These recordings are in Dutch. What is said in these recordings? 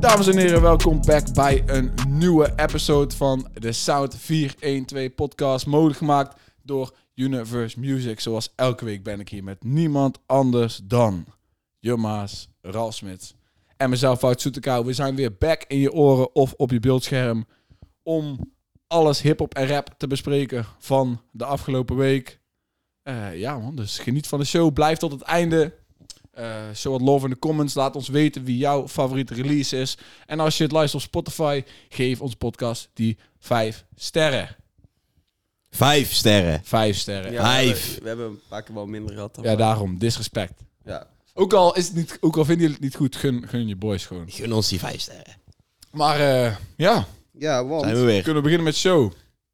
dames en heren, welkom back bij een nieuwe episode van de Sound 412 podcast. Mogelijk gemaakt door Universe Music. Zoals elke week ben ik hier met niemand anders dan Jumma's, Ralf Smits en mezelf, Wout Soetekau. We zijn weer back in je oren of op je beeldscherm om alles hip-hop en rap te bespreken van de afgelopen week. Eh, ja, man, dus geniet van de show. Blijf tot het einde. Eh show wat love in de comments. Laat ons weten wie jouw favoriete release is. En als je het luistert op Spotify, geef onze podcast die vijf sterren. Vijf sterren. Vijf sterren. Ja, Ja. we, Vijf. hebben, we hebben een paar keer wel minder gehad. Dan daarom. Disrespect. ja. Ook al, is het niet, ook al vinden jullie het niet goed, gun, gun je boys gewoon. Gun ons die vijf sterren. Maar eh, ja, ja, want Zijn we we... weer. kunnen we beginnen met show.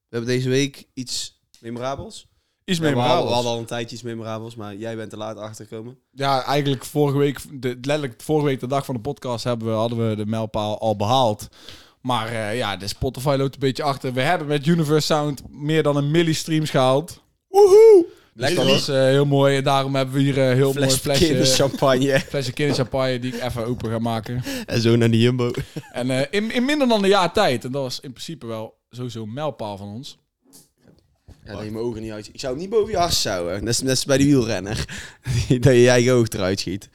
hebben deze week iets memorabels. Iets Ja, meer we, hadden, we memorabels. hadden al een tijdje iets memorabels, maar jij bent er laat achter gekomen. Ja, eigenlijk vorige week, de, letterlijk vorige week de dag van de podcast hebben we, hadden we de mijlpaal al behaald. Maar eh, ja, de Spotify loopt een beetje achter. We hebben met Universe Sound meer dan een milli streams gehaald. Woehoe! Dus Lekker dat hoor. is eh, heel mooi. En daarom hebben we hier een heel mooi Fles flesje, kinderchampagne. flesje kinderchampagne die ik even open ga maken. En zo naar die jumbo. En eh, in, in minder dan een jaar tijd. En dat was in principe wel sowieso een mijlpaal van ons. Ja, dat je mijn ogen niet uit. Ik zou hem niet boven je hart zouden. Net, als- net als bij de wielrenner. dat je jij je oog eruit schiet.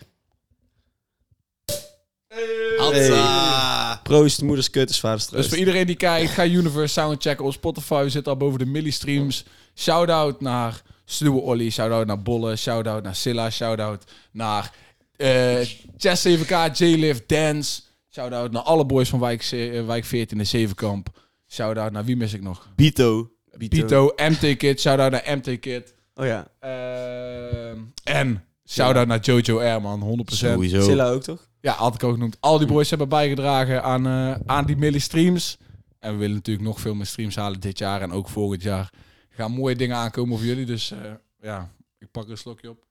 Hansa. Proost, moeders, kutters, vaders, Dus troost. voor iedereen die kijkt, ga Universe Sound checken op Spotify. We zitten al boven de millistreams. Shout-out naar Sluwe Olly. Shout-out naar Bolle. Shout-out naar Silla. Shout-out naar eh Chess 7K, J-Lift, Dance. Shout-out naar alle boys van Wijk, ze- eh, Wijk 14 en Zevenkamp. Shout-out naar wie mis ik nog? Bito. Pito, MT Kid. Shout-out naar MT Kid. Oh ja, Ehm, en shout-out naar Jojo Airman, 100%. Sowieso. Silla ook toch? Ja, had ik ook genoemd. Al die boys hebben bijgedragen aan, eh, aan die milli streams. En we willen natuurlijk nog veel meer streams halen dit jaar en ook volgend jaar. Er gaan mooie dingen aankomen voor jullie. Dus eh, ja, ik pak er een slokje op.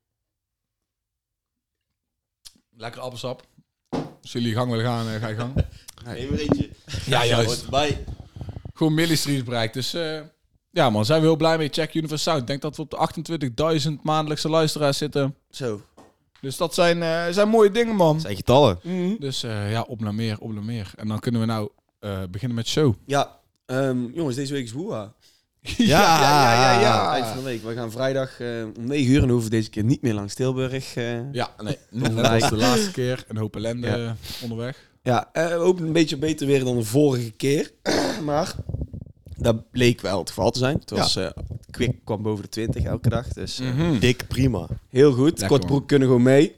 Lekker appelsap. Als jullie gang willen gaan, eh, ga je gang. Neem er eentje. ja, juist. Hoort bij. Gewoon milli streams bereikt. Dus eh, ja man, zijn we heel blij mee. Check Universe Sound. Ik denk dat we op de 28.000 maandelijkse luisteraars zitten. Zo. Dus dat zijn, eh, zijn mooie dingen man. Zijn getallen. Mhm. Dus eh, ja, op naar meer, op naar meer. En dan kunnen we nou eh, beginnen met show. Ja, ehm, jongens, deze week is woeha. Ja. ja, ja, ja, ja. Ah. Eind van de week. We gaan vrijdag eh, om 9 uur en hoeven we deze keer niet meer langs Tilburg. eh, Ja, nee. Dat was de laatste keer. Een hoop ellende Ja. eh, onderweg. Ja, eh, ook een beetje beter weer dan de vorige keer. maar dat bleek wel het geval te zijn. Het was, eh, Kwik kwam boven de 20 elke dag. Dus eh, Mhm. Dik prima. heel goed. Lekker, Kortbroek man. kunnen gewoon mee.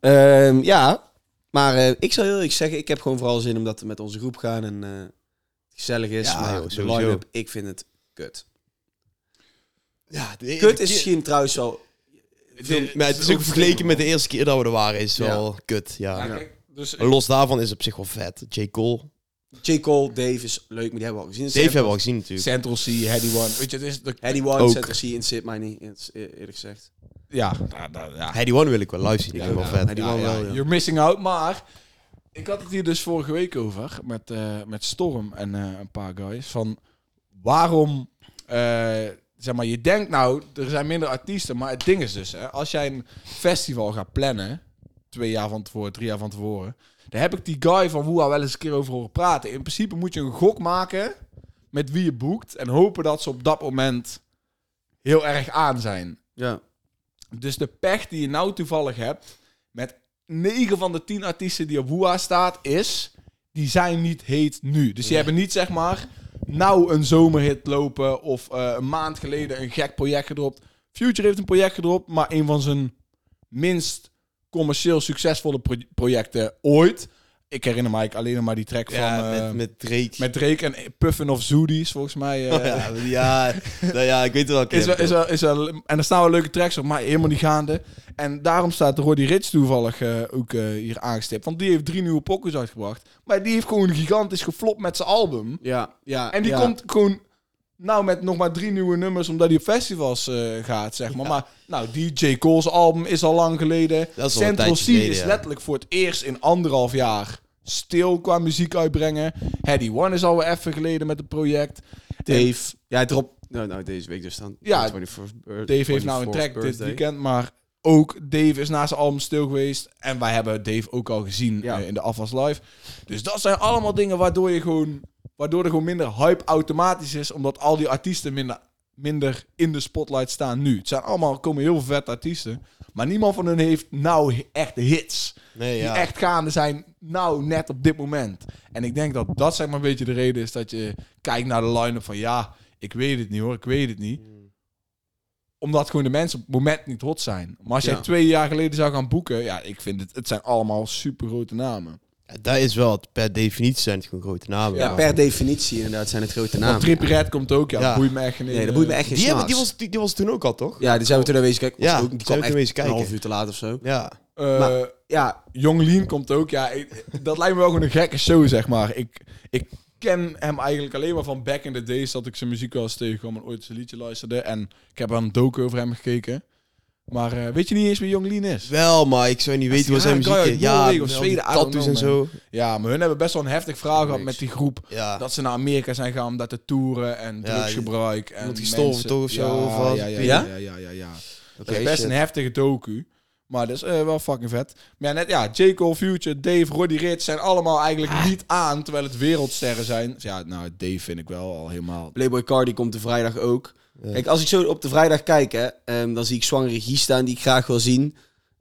Ehm, ja, maar eh, ik zal heel eerlijk zeggen, ik heb gewoon vooral zin omdat we met onze groep gaan en eh, het gezellig is. Ja, maar joh, de sowieso. line-up, ik vind het kut. Ja, de eerste Kut is keer- misschien trouwens wel... de- Maar het is ook vergeleken met de eerste keer dat we er waren. Is wel kut, ja. Oh, dus ik- Los daarvan is het op zich wel vet. J. Cole. J. Cole, Dave is leuk, maar die hebben we al gezien. Dave hebben we al gezien natuurlijk. Central C, Heady One. Weet je, het is... De, Eddie Ook. One, Center C, in Sid Mij niet, eer- eerlijk gezegd. ja, nou, nou, ja. Heidi One wil ik wel live zien. Die Ja, vind ik ja. wel Ja, vet. die Ja, man ja, wel, ja. You're missing out, maar... Ik had het hier dus vorige week over met, eh, met Storm en eh, een paar guys. Van waarom... eh, zeg maar, je denkt nou, er zijn minder artiesten. Maar het ding is dus, hè, als jij een festival gaat plannen... twee jaar van tevoren, drie jaar van tevoren... Daar heb ik die guy van Woeha wel eens een keer over horen praten. In principe moet je een gok maken met wie je boekt... en hopen dat ze op dat moment heel erg aan zijn. Ja. Dus de pech die je nou toevallig hebt met 9 van de 10 artiesten die op Woeha staat, is die zijn niet heet nu. Dus die hebben niet zeg maar nou een zomerhit lopen of eh, een maand geleden een gek project gedropt. Future heeft een project gedropt, maar een van zijn minst commercieel succesvolle pro- projecten ooit. Ik herinner me eigenlijk alleen nog maar die track van Ja, eh, met, met, met Drake. Drake en Puffin of Zoodies, volgens mij. eh, ja, ja, nou ja, ik weet wel. is wel, is wel, is wel, en er staan wel leuke tracks op, maar helemaal niet gaande. En daarom staat de Roddy Rich toevallig eh, ook eh, hier aangestipt. Want die heeft drie nieuwe pokkers uitgebracht. Maar die heeft gewoon gigantisch geflopt met zijn album. Ja, ja. En die ja. komt gewoon nou met nog maar drie nieuwe nummers, omdat hij op festivals eh, gaat, zeg maar. Maar nou, die J. Cole's album is al lang geleden. Dat is al een Central C tijdje geleden, is ja. letterlijk voor het eerst in anderhalf jaar stil qua muziek uitbrengen. Heady One is alweer even geleden met het project. Dave. Ja, drop. Nou, nou, deze week dus dan. Ja, 24th birth- Dave heeft nou een 24th track dit birthday. weekend, maar Ook Dave is na zijn album stil geweest. En wij hebben Dave ook al gezien Ja. eh, in de Afwas Live. Dus dat zijn allemaal dingen waardoor, je gewoon, waardoor er gewoon minder hype automatisch is. Omdat al die artiesten minder, minder in de spotlight staan nu. Het zijn allemaal, er komen heel veel vette artiesten. Maar niemand van hun heeft nou he- echt hits. Nee, Die ja. echt gaande zijn nou net op dit moment. En ik denk dat dat zeg maar een beetje de reden is dat je kijkt naar de line-up van... Ja, ik weet het niet hoor, ik weet het niet omdat gewoon de mensen op het moment niet hot zijn. Maar als jij Ja. twee jaar geleden zou gaan boeken, ja, ik vind het, het zijn allemaal super grote namen. Ja, dat is wel, het. per definitie zijn het gewoon grote namen. Ja, Maar- Per definitie inderdaad zijn het grote Want namen. Trippie Red komt ook, ja, Ja. dat boeit me echt geen Nee, ene- dat boeit me echt geen die, hebben, snaas. die, was, die, die was toen ook al, toch? Ja, die zijn we toen aanwezig kijken. Ja, Was ook, die die zijn kwam we echt toen een aanwezig kijken. half uur te laat of zo. Ja. Eh, Maar- Ja, Jong Lean komt ook, ja, ik- dat lijkt me wel gewoon een gekke show, zeg maar. Ik, ik ken hem eigenlijk alleen maar van back in the days dat ik zijn muziek wel eens tegenkwam en ooit zijn liedje luisterde. En ik heb wel een docu over hem gekeken. Maar eh, weet je niet eens wie Jong Lean is? Wel, maar ik zou niet weten die waar zijn raar muziek guy is. uit Ja, Noorwegen of wel die Zweden, I don't tattoos en know, zo. Ja, maar hun hebben best wel een heftig verhaal gehad met die groep. Ja. Dat ze naar Amerika zijn gegaan om daar te toeren en Ah. Ja, drugsgebruik. en iemand gestorven mensen- toch of zo, Ja, of wat? ja, ja, ja, ja, Ja? ja, ja, ja. Dat Oké, is best shit. een heftige docu. Maar dat is eh, wel fucking vet. Maar ja, net, ja, J. Cole, Future, Dave, Roddy Ricch zijn allemaal eigenlijk Ah. niet aan, terwijl het wereldsterren zijn. Dus ja, nou, Dave vind ik wel al helemaal... Playboy Cardi komt de vrijdag ook. Kijk, als ik zo op de vrijdag kijk, hè, ehm, dan zie ik zwangere Guy staan die ik graag wil zien.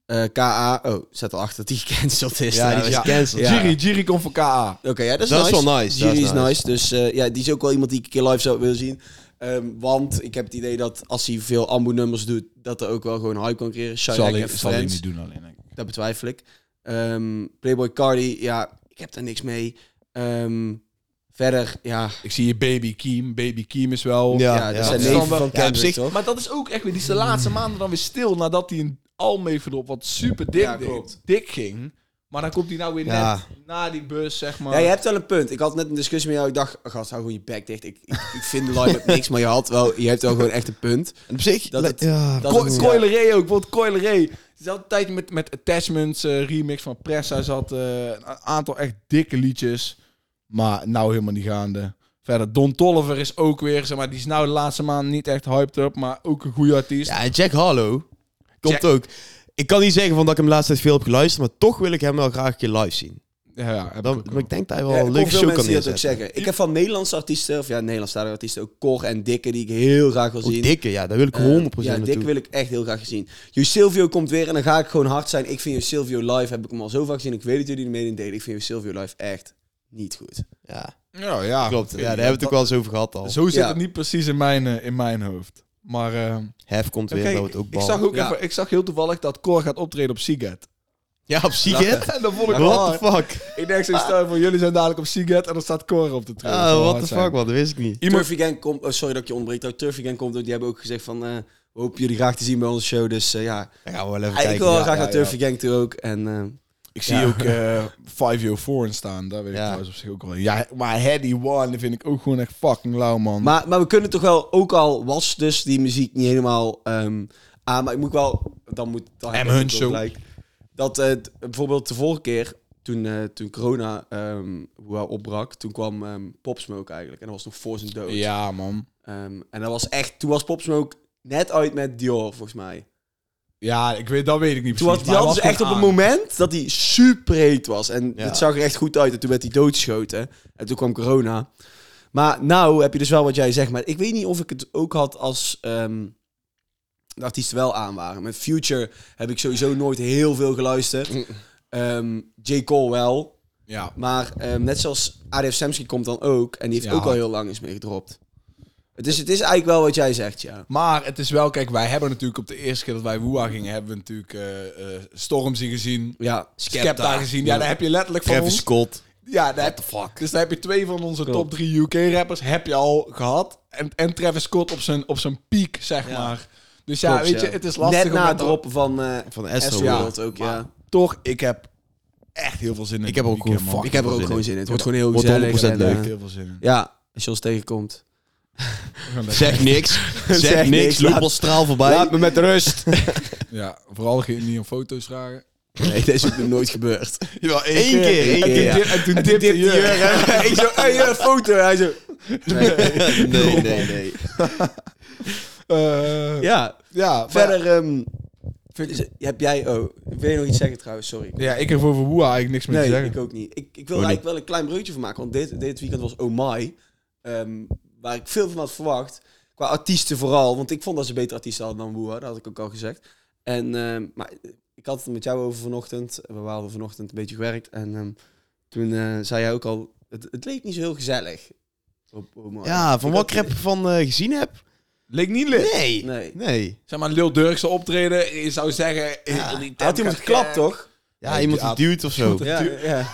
Eh, K.A. Oh, zet al achter dat die gecanceld is. Ja, die is trouwens. gecanceld. Ja. Jiri, Jiri komt van KA. Oké, ja, dat is Dat is nice. wel nice, Jury dat is is nice. Dus eh, ja, die is ook wel iemand die ik een keer live zou willen zien. Ehm, want ik heb het idee dat als hij veel ambu-nummers doet, dat er ook wel gewoon hype kan creëren. Zal Zal en ik, zal ik Friends, niet doen alleen. denk ik. dat betwijfel ik. Ehm, Playboy Cardi, ja, ik heb daar niks mee. Ehm, verder, ja, Ik zie hier Baby Keem. Baby Keem is wel... Ja, ja, ja. dat zijn Dat is dan neven wel- van Ja, op Kendrick, zich- toch? Maar dat is ook echt weer, die is de laatste maanden dan weer stil nadat hij een album heeft gedropt wat super dik, Ja, klopt. dik ging. Maar dan komt hij nou weer Ja. net na die bus, zeg maar. Ja, je hebt wel een punt. Ik had net een discussie met jou. Ik dacht, oh, gast, hou gewoon je bek dicht. Ik, ik, ik vind de line-up niks, maar je, had wel, je hebt wel gewoon echt een punt. En Op zich, Dat le- het- ja. dat Co- het- Coiler Ray ook, bijvoorbeeld Coiler Ray. Zelfde tijdje met, met Attachments, eh, remix van Pressa zat eh, een aantal echt dikke liedjes. Maar nou helemaal niet gaande. Verder, Don Tolliver is ook weer, zeg maar, die is nou de laatste maand niet echt hyped up, maar ook een goede artiest. Ja, en Jack Harlow komt Jack- ook. Ik kan niet zeggen van dat ik hem de laatste tijd veel heb geluisterd, maar toch wil ik hem wel graag een keer live zien. Ja, ja, heb Dan, ik ook maar ik denk dat hij wel Ja, een leuke veel show kan mensen die dat ook neerzetten. zeggen. Ik heb van Nederlandse artiesten, of ja, Nederlandstalige artiesten ook Cor en Dikke, die ik heel graag wil Ook zien. Eh, dikke, ja, daar wil ik 100% ja, naartoe. Dikke wil ik echt heel graag zien. Jo Silvio komt weer en dan ga ik gewoon hard zijn. Ik vind Jo Silvio live, heb ik hem al zo vaak gezien. Ik weet dat jullie ermee delen. Ik vind Jo Silvio live echt niet goed. Ja, Ja, ja. klopt. Ja, daar dat- hebben we het ook wel eens over gehad al. Zo zit Ja. het niet precies in mijn, eh, in mijn hoofd. Maar eh, Hef komt weer, kijk, dat we het ook ik ballen. zag ook Ja. even, ik zag heel toevallig dat Cor gaat optreden op Seagate. Ja, op Siget? En dan vond ik wel hard. What the fuck? Ik denk zo, stel voor jullie zijn dadelijk op Seagate en dan staat Cor op de trailer. Ah, Zou what hard the zijn. fuck, man, dat wist ik niet. Iemand, Turfy Gang komt, oh, sorry dat ik je onderbreek. trouw- Turfy Gang komt ook, die hebben ook gezegd van... eh, we hopen jullie graag te zien bij onze show, dus eh, ja. Dan gaan we wel even Ja, ik kijken. wil wel ja. graag ja, naar Turfy Gang toe ook. En eh, ik zie ook eh 504 in staan, daar weet ik Ja. trouwens op zich ook wel. Ja, maar Heady One vind ik ook gewoon echt fucking lauw, man. Maar, maar we kunnen toch wel, ook al was dus die muziek niet helemaal ehm, aan, maar ik moet wel, dan moet... Dan heb M. ik ook Huncho. gelijk. Dat eh, t- bijvoorbeeld de vorige keer, toen, eh, toen corona ehm, hoe hij opbrak, toen kwam ehm Pop Smoke eigenlijk. En dat was nog voor zijn dood. ja, man. Ehm, en dat was echt, toen was Pop Smoke net uit met Dior, volgens mij. Ja, ik weet, dat weet ik niet Toen was, precies. die maar hadden ze hij echt was op een gewoon moment dat hij super heet was. En Ja. het zag er echt goed uit. En toen werd hij doodgeschoten. En toen kwam corona. Maar nou heb je dus wel wat jij zegt. Maar ik weet niet of ik het ook had als ehm, de artiesten wel aan waren. Met Future heb ik sowieso nooit heel veel geluisterd. Mm. Ehm, J. Cole wel. aan. Ja. Maar ehm, net zoals ADF Samsky komt dan ook. En die heeft Ja. ook al heel lang eens mee gedropt. Het is, het is eigenlijk wel wat jij zegt, ja. Maar het is wel, kijk, wij hebben natuurlijk op de eerste keer dat wij Woeha gingen, hebben we natuurlijk eh eh Storm zien gezien. Ja, Skepta, gezien. Ja, daar heb je letterlijk van Travis ons. Scott. Ja, daar heb, dus daar heb je twee van onze top drie UK-rappers heb je al gehad. En, en Travis Scott op zijn, op zijn piek, zeg maar. Dus ja, Klopt, weet je, ja. het is lastig Net na om het te- droppen van, eh Van van Astro World ook, Maar ja. toch, ik heb echt heel veel zin in Ik heb dit ook weekend, gewoon man. fucking Ik heb er veel zin ook gewoon in. zin in. Het wordt Wordt- gewoon heel wordt gezellig. 100% en, Ik heb leuk. eh, heel veel zin in. Ja, als je ons tegenkomt. We gaan lekker. Zeg niks. Zeg, Zeg niks, niks. Loop laat- al straal voorbij. me met rust. Ja, vooral geen niet om foto's vragen. eh, nee, dat is ook nog nooit gebeurd. Eén keer. En één Eén keer, toen ja. keer. dip- En toen dipte Tipte je, je. hè? Ik zo, hey, eh, foto. Hij zo... Nee, Nee, nee, nee. Eh, Ja, Ja, maar- verder... ehm, Vind ik- Is- heb jij... Oh, wil je nog iets zeggen trouwens? Sorry. ja, ik heb over Woeha eigenlijk niks meer Nee, te zeggen. ik ook niet. Ik, ik wil Oh, eigenlijk wel een klein breukje van maken. Want dit, dit weekend was Oh My. ehm, waar ik veel van had verwacht. Qua artiesten vooral. Want ik vond dat ze betere artiesten hadden dan Woeha. Dat had ik ook al gezegd. En, ehm, maar ik had het er met jou over vanochtend. We hadden vanochtend een beetje gewerkt. En ehm, toen eh, zei jij ook al... Het, het leek niet zo heel gezellig. Op Oh My. Ja, van Ik wat had- ik heb van eh, gezien heb? Leek niet lit. Nee. Nee. Nee. Zeg maar, Lil Durkse optreden. Je zou zeggen... eh, Ja, die Hij had iemand geklapt, toch? Ja, Nee, iemand die die duwt of zo. Ja, Tuur- ja.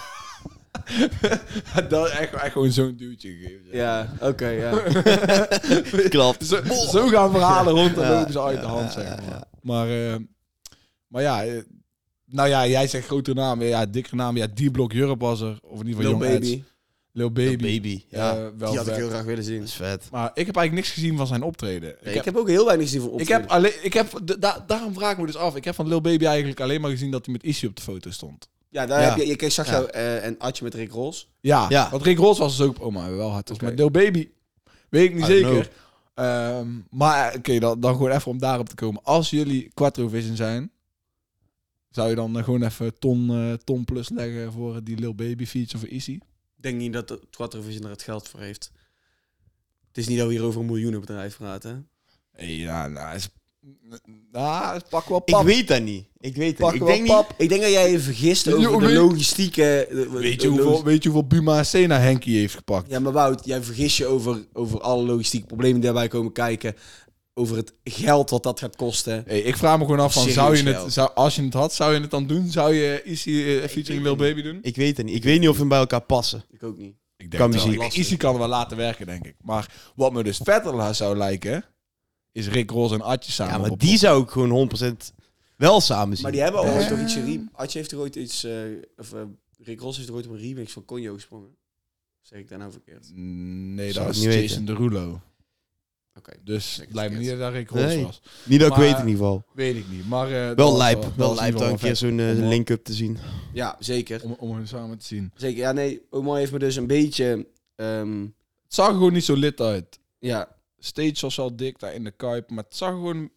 Dat echt, echt gewoon zo'n duwtje gegeven. Ja, oké, ja. Klapt. Zo, eh, zo gaan verhalen rond en lopen ze uit de hand, zeg maar. Maar, eh, maar ja, eh, nou ja, jij zegt grote namen. Ja, dikke namen. Ja, D-Block Europe was er. Of in ieder Lil geval Young Eds. Baby. Lil Baby. Baby. Baby. Ja, Eh, wel Die had ik vet. heel graag willen zien. dat is vet. Maar ik heb eigenlijk niks gezien van zijn optreden. Nee, ik, heb, ook heel weinig gezien van ik optreden. heb alleen, ik heb, da- da- daarom vraag ik me dus af. Ik heb van Lil Baby eigenlijk alleen maar gezien dat hij met Issy op de foto stond. Ja, daar Ja. heb je, je, ik zag Ja. jou eh, en Adje met Rick Ross. Ja, Ja. want Rick Ross was dus ook op oma wel hard. Dus Oké. met Lil Baby weet ik niet I don't zeker. Ehm, maar oké, dan, dan gewoon even om daarop te komen. Als jullie Quattro Vision zijn, zou je dan eh, gewoon even ton, eh, ton plus leggen voor eh, die Lil Baby feature voor Issy? Ik denk niet dat de Quattrovision er het geld voor heeft. Het is niet dat we hier over een miljoenenbedrijf praten. Hey, ja, nou, is, nou, is pak wel Ik pap. weet dat niet. Ik weet het pak niet. Ik wel denk pap. niet... Ik denk dat jij je vergist Jo, over de weet- logistieke... eh, de- Weet je, de hoeveel, logis- weet je hoeveel Buma Sena Henkie heeft gepakt? Ja, maar Wout, jij vergist je over, over alle logistieke problemen die daarbij komen kijken. Over het geld wat dat gaat kosten. Hey, ik vraag me gewoon af van, Serieus zou je geld. het, zou, als je het had, zou je het dan doen? Zou je Easy eh, featuring Lil Baby doen? Ik weet het niet. Ik weet niet of we bij elkaar passen. Ik ook niet. Ik Kan het wel. muziek. Ik- Easy kan het wel laten werken, denk ik. Maar wat me dus vetter la- zou lijken, is Rick Ross en Atje samen. Ja, maar op- die zou ik gewoon 100% wel samen zien. Maar die hebben al ooit Eh. toch iets... gerem- Adje heeft er ooit iets... eh, of eh, Rick Ross heeft er ooit op een remix van Conjo gesprongen. Zeg ik daarna verkeerd? Nee, Zou dat ik is niet Jason Derulo. Oké. Dus Zeker lijkt me niet verkeerd. dat dat Rick Ross Nee. was. Niet dat Maar- ik weet in ieder geval. Weet ik niet, maar... eh, dat Wel was lijp. dat Wel was in lijp ieder dan geval een keer vet zo'n eh, om- link-up te zien. Ja, zeker. Om, om hem samen te zien. Zeker, ja, nee. Omar heeft me dus een beetje. ehm, Het zag er gewoon niet zo lit uit. ja, Stage was al dik daar in de Kuip, maar het zag er gewoon...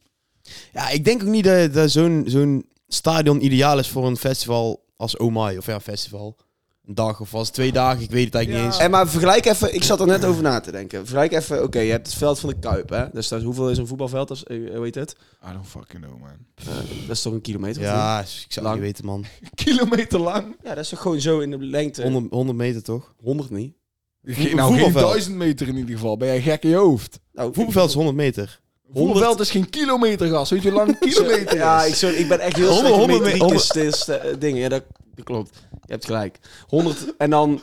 Ja, ik denk ook niet dat, dat zo'n zo'n stadion ideaal is voor een festival als Oh My. Of ja, een festival. Een dag of als twee dagen, ik weet het eigenlijk Ja. niet eens. en maar vergelijk even. Ik zat er net over na te denken. Vergelijk even. Oké, je hebt het veld van de Kuip, hè? Dus dat, hoeveel is een voetbalveld? Dat is, eh, hoe heet het? I don't fucking know, man. Dat is toch een kilometer? of Ja, ik zou het Lang. niet weten, man. Kilometer lang. niet? ja, dat is toch gewoon zo in de lengte. 100, 100 meter toch? 100 niet. Ge- nou, geen voetbalveld. duizend meter in ieder geval. Ben jij gek in je hoofd? Nou, Voetbalveld is 100 meter. Voetbalveld is geen kilometer, gast. Weet je hoe lang een kilometer is? Ja, ik, sorry, ik ben echt heel slecht 100 in metriekjes, honderd- dus, eh, dingen. Ja, dat, dat klopt. Je hebt gelijk. 100 en dan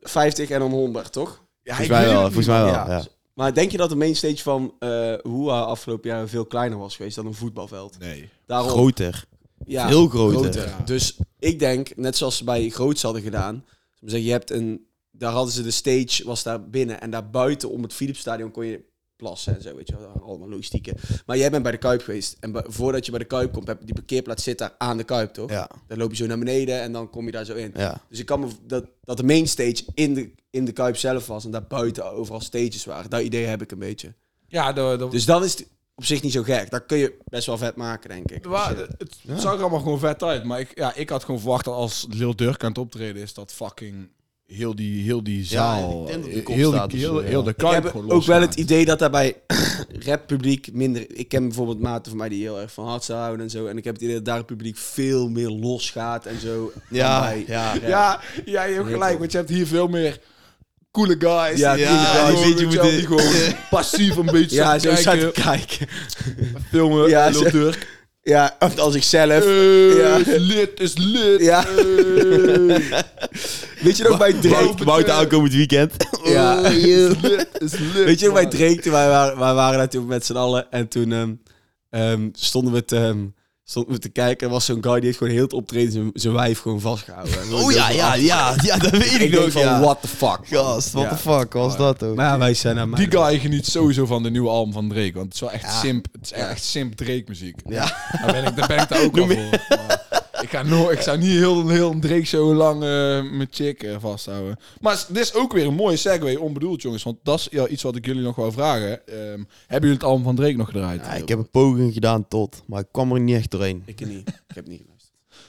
50 en dan 100, toch? Ja, Volgens ik mij weet wel. het niet. Volgens mij wel, Ja. Oh, ja. Maar denk je dat de mainstage van eh Hoa afgelopen jaar veel kleiner was geweest dan een voetbalveld? Nee. Daarom, Groter. ja, Heel groter. groter. Ja. Dus ik denk, net zoals ze bij Groots hadden gedaan. ze zeggen, Je hebt een, daar hadden ze de stage, was daar binnen. En daar buiten om het Philipsstadion kon je plassen en zo. Weet je, wel, allemaal logistieke. Maar jij bent bij de Kuip geweest. En bij- voordat je bij de Kuip komt, heb je die parkeerplaats zit daar aan de Kuip, toch? Ja, Dan loop je zo naar beneden en dan kom je daar zo in. ja. Dus ik kan me v- dat, dat de main stage in de, in de Kuip zelf was. En daar buiten overal stages waren. Dat idee heb ik een beetje. Ja, de, de, Dus dan is het op zich niet zo gek. Dat kun je best wel vet maken, denk ik. de wa- Dus, eh, het het zag er allemaal gewoon vet uit. Maar ik, ja, ik had gewoon verwacht dat als Lil Durk aan het optreden is, dat fucking heel die, heel die zaal... die tent op de eh, kop heel, staat die, of zo, heel, ja. heel de dus, Ik Kuip heb gewoon ook wel losgaat. het idee dat daarbij rappubliek minder... Ik ken bijvoorbeeld maten van mij die heel erg van hardstyle houden en zo. En ik heb het idee dat daar het publiek veel meer los gaat en zo. dan Ja, bij ja. rap. Ja, ja, je hebt gelijk, want je hebt hier veel meer coole guys. Ja, die- die coole guys. gewoon, Een beetje weet je wel, moeten- die gewoon passief een beetje Ja, staan zo te staat te kijken. kijken. Filmen, Ja, Lil ze- Durk. Ja, of als ik zelf. Eh, Ja. is lit, is lit. Ja. eh. Weet je nog bij Drake? Wou- Wou het aankomend weekend. Oh, Ja. Weet Weet je nog bij Drake? Toen wij waren, wij waren daar toen met z'n allen. En toen ehm, ehm, stonden, we te, ehm, stonden we te kijken. Er was zo'n guy die heeft gewoon heel het optreden zijn- zijn wijf gewoon vastgehouden. En Oh ja, ja, ja. Ja, dat weet Ik ik denk nog, van, ja. what the fuck. man. Gast, what Ja. the fuck was dat ook? Maar ja, wij zijn aan Die guy geniet sowieso van de nieuwe album van Drake. Want het is wel echt Ja. simp. Het is echt simp Drake muziek. Ja. Daar ben ik, daar ben ik daar ook wel voor. Maar ik, ga no ik zou niet heel, heel een Drake zo lang eh, mijn chick eh, vasthouden. Maar s- dit is ook weer een mooie segue, onbedoeld jongens. Want dat is ja, iets wat ik jullie nog wou vragen. Ehm, hebben jullie het album van Drake nog gedraaid? Ja, ik heb een poging gedaan tot, maar ik kwam er niet echt doorheen. Ik niet. Ik heb niet geluisterd.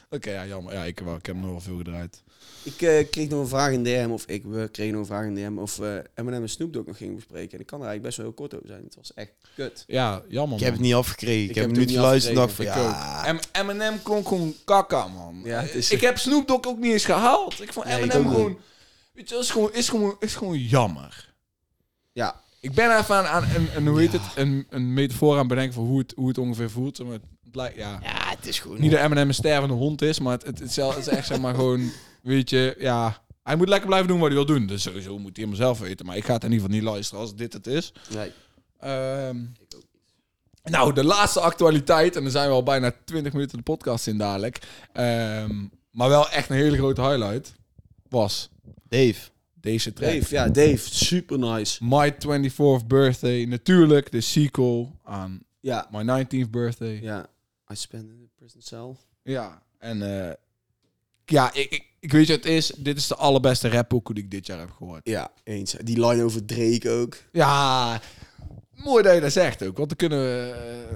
Oké, ja, jammer. Ja, ik, wel, ik heb nog wel veel gedraaid. Ik eh, kreeg nog een vraag in DM, of ik we kregen nog een vraag in DM, of eh M&M en Snoop Dogg nog gingen bespreken. En ik kan er eigenlijk best wel heel kort over zijn. Het was echt kut. Ja, jammer Ik heb het niet afgekregen. Ik, Ik heb heb een het ook minuut niet geluisterd en dacht van, afgekregen. ja... man. M- M&M kon gewoon kakka, man. Ja, het is- ik heb Snoop Dogg ook niet eens gehaald. Ik vond Nee, M&M ik ook niet. gewoon... Weet je, is gewoon, is gewoon, is gewoon jammer. Ja, Ik ben even aan, aan een, een, hoe heet het, een, een metafoor aan het bedenken van hoe het, hoe het ongeveer voelt. Maar het blijkt, ja. Ja, het is gewoon... Niet dat M&M een stervende hond is, maar het, het, het, zelf- het is echt zeg maar gewoon, weet je, ja. Hij moet lekker blijven doen wat hij wil doen. Dus sowieso moet hij hem zelf weten. Maar ik ga het in ieder geval niet luisteren als dit het is. nee. Ehm, nou, de laatste actualiteit. En dan zijn we al bijna 20 minuten de podcast in dadelijk. Ehm, maar wel echt een hele grote highlight was Dave. deze track. Dave, ja, Dave, super nice. My 24th birthday. Natuurlijk de sequel aan Ja, My 19th birthday. Ja. ja. I spent in a prison cell. En eh, ja, ik, ik, ik weet je wat het is. Dit is de allerbeste rappoek die ik dit jaar heb gehoord. Ja, eens. Die line over Drake ook. Ja, mooi dat je dat zegt ook. Want dan kunnen we, eh,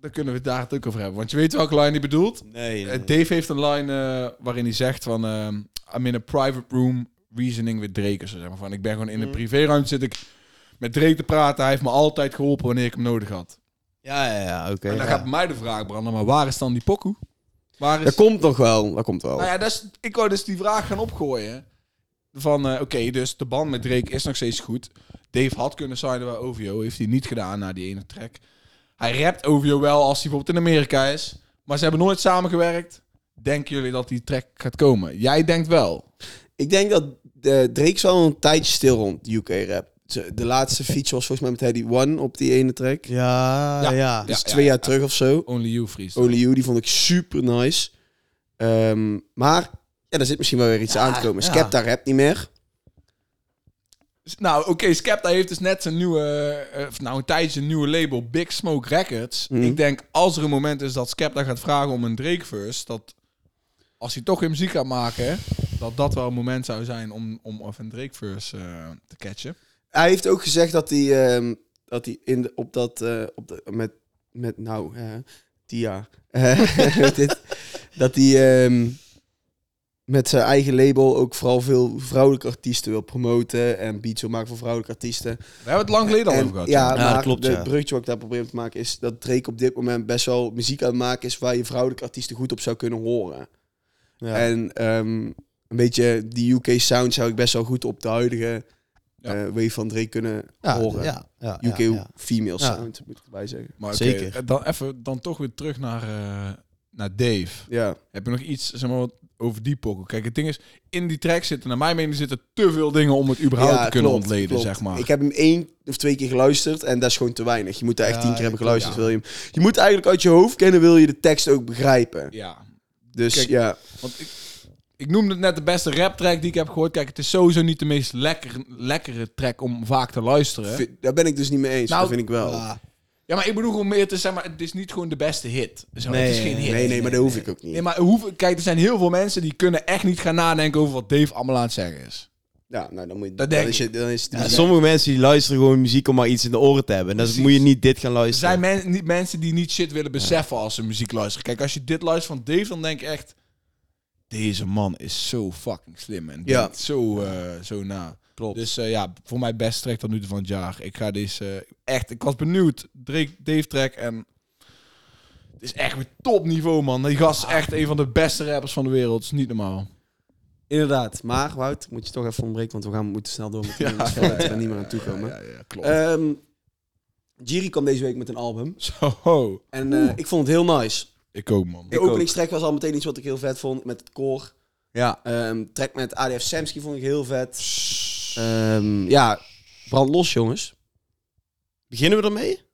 dan kunnen we het daar het ook over hebben. Want je weet welke line die bedoelt. Nee, Eh, Dave heeft een line eh, waarin hij zegt van... ehm, I'm in a private room reasoning with Drake. of zo, Zeg maar. van, ik ben gewoon in een Mm. privéruimte zit ik met Drake te praten. Hij heeft me altijd geholpen wanneer ik hem nodig had. Ja, ja, ja, oké. En dan ja. gaat bij mij de vraag branden. Maar waar is dan die pokoe? Waar Dus- is Dat komt nog wel, dat komt wel. Oh. Nou ja, dat is, ik wou dus die vraag gaan opgooien. Van, eh, oké, dus de band met Drake is nog steeds goed. Dave had kunnen signen bij OVO, heeft hij niet gedaan na die ene track. Hij rapt OVO wel als hij bijvoorbeeld in Amerika is. Maar ze hebben nooit samengewerkt. Denken jullie dat die track gaat komen? Jij denkt wel. Ik denk dat eh, Drake is al een tijdje stil rond UK-rap. De laatste feature was volgens mij met Heady One op die ene track. Ja, ja. Ja. Dus ja, twee ja, jaar terug of zo. Only You Freeze. Only You, die vond ik super nice. Ehm, maar ja, daar zit misschien wel weer iets aan te komen. ja. Skepta rap niet meer. Nou, oké, Skepta heeft dus net zijn nieuwe... eh, of nou, een tijdje een nieuwe label, Big Smoke Records. Mhm. Ik denk, als er een moment is dat Skepta gaat vragen om een Drake-verse... dat als hij toch weer muziek gaat maken... dat dat wel een moment zou zijn om, om of een Drake-verse eh, te catchen. Hij heeft ook gezegd dat hij, ehm, dat hij in de, op dat, eh, op de, met, met nou, eh, Tia. Eh, met dit, dat hij ehm, met zijn eigen label ook vooral veel vrouwelijke artiesten wil promoten. En beats wil maken voor vrouwelijke artiesten. We hebben het lang geleden al En- over gehad. Ja, joh. Ja, maar dat klopt, de ja. bruggetje wat ik daar probeer te maken is dat Drake op dit moment best wel muziek aan het maken is waar je vrouwelijke artiesten goed op zou kunnen horen. Ja. En ehm, een beetje die UK sound zou ik best wel goed op de huidige Ja. eh, wave van Drake kunnen ja, horen. Ja, ja, ja, UK ja. female Ja. sound moet ik erbij zeggen. Maar zeker. zeker. Dan even dan toch weer terug naar, eh, naar Dave. Ja, Heb je nog iets zeg maar, wat over die pokken? Kijk, het ding is, in die track zitten, naar mijn mening, zitten te veel dingen om het überhaupt Ja, te kunnen klopt, ontleden, klopt. zeg maar. Ik heb hem één of twee keer geluisterd en dat is gewoon te weinig. Je moet daar echt Ja, tien keer hebben ja, geluisterd, ja. wil je hem. Je moet eigenlijk uit je hoofd kennen, wil je de tekst ook begrijpen. Ja, Dus Kijk, ja, Want ik, ik noemde het net de beste rap track die ik heb gehoord. Kijk, het is sowieso niet de meest lekker, lekkere track om vaak te luisteren. vind- daar ben ik dus niet mee eens. Nou, dat vind ik wel. Ja. ja, maar ik bedoel gewoon meer te zeg maar, het is niet gewoon de beste hit. Zo, Nee, het is geen hit. Nee, nee, maar dat hoef ik ook niet. Nee, maar hoeveel- kijk, er zijn heel veel mensen die kunnen echt niet gaan nadenken over wat Dave allemaal aan het zeggen is. Ja, nou dan moet je. Dat dan denk is ik. het- dan is het Ja, sommige mensen die luisteren gewoon muziek om maar iets in de oren te hebben. En dan Precies. moet je niet dit gaan Er zijn luisteren. men- niet mensen die niet shit willen beseffen als ze muziek luisteren. Kijk, als je dit luistert van Dave, dan denk ik echt... Deze man is zo fucking slim en Ja. denkt zo, eh, zo na. Klopt. Dus eh, ja, voor mij best track tot nu toe van het jaar. Ik ga deze eh, echt. Ik was benieuwd. Drake, Dave track en het is echt weer topniveau man. Die gast is echt een van de beste rappers van de wereld. Het is niet normaal. Inderdaad. Maar Wout, moet je toch even ontbreken, want we gaan moeten snel door met de nummers, want we er niet meer aan toe komen. Ja, ja, klopt. Ehm, Jiri kwam deze week met een album. Zo, ho. En eh, ik vond het heel nice. ik ook man. De openingstrack was al meteen iets wat ik heel vet vond met het koor. Ja. Ehm track met ADF Samsky vond ik heel vet. Ehm, ja, brand los jongens. Beginnen we ermee?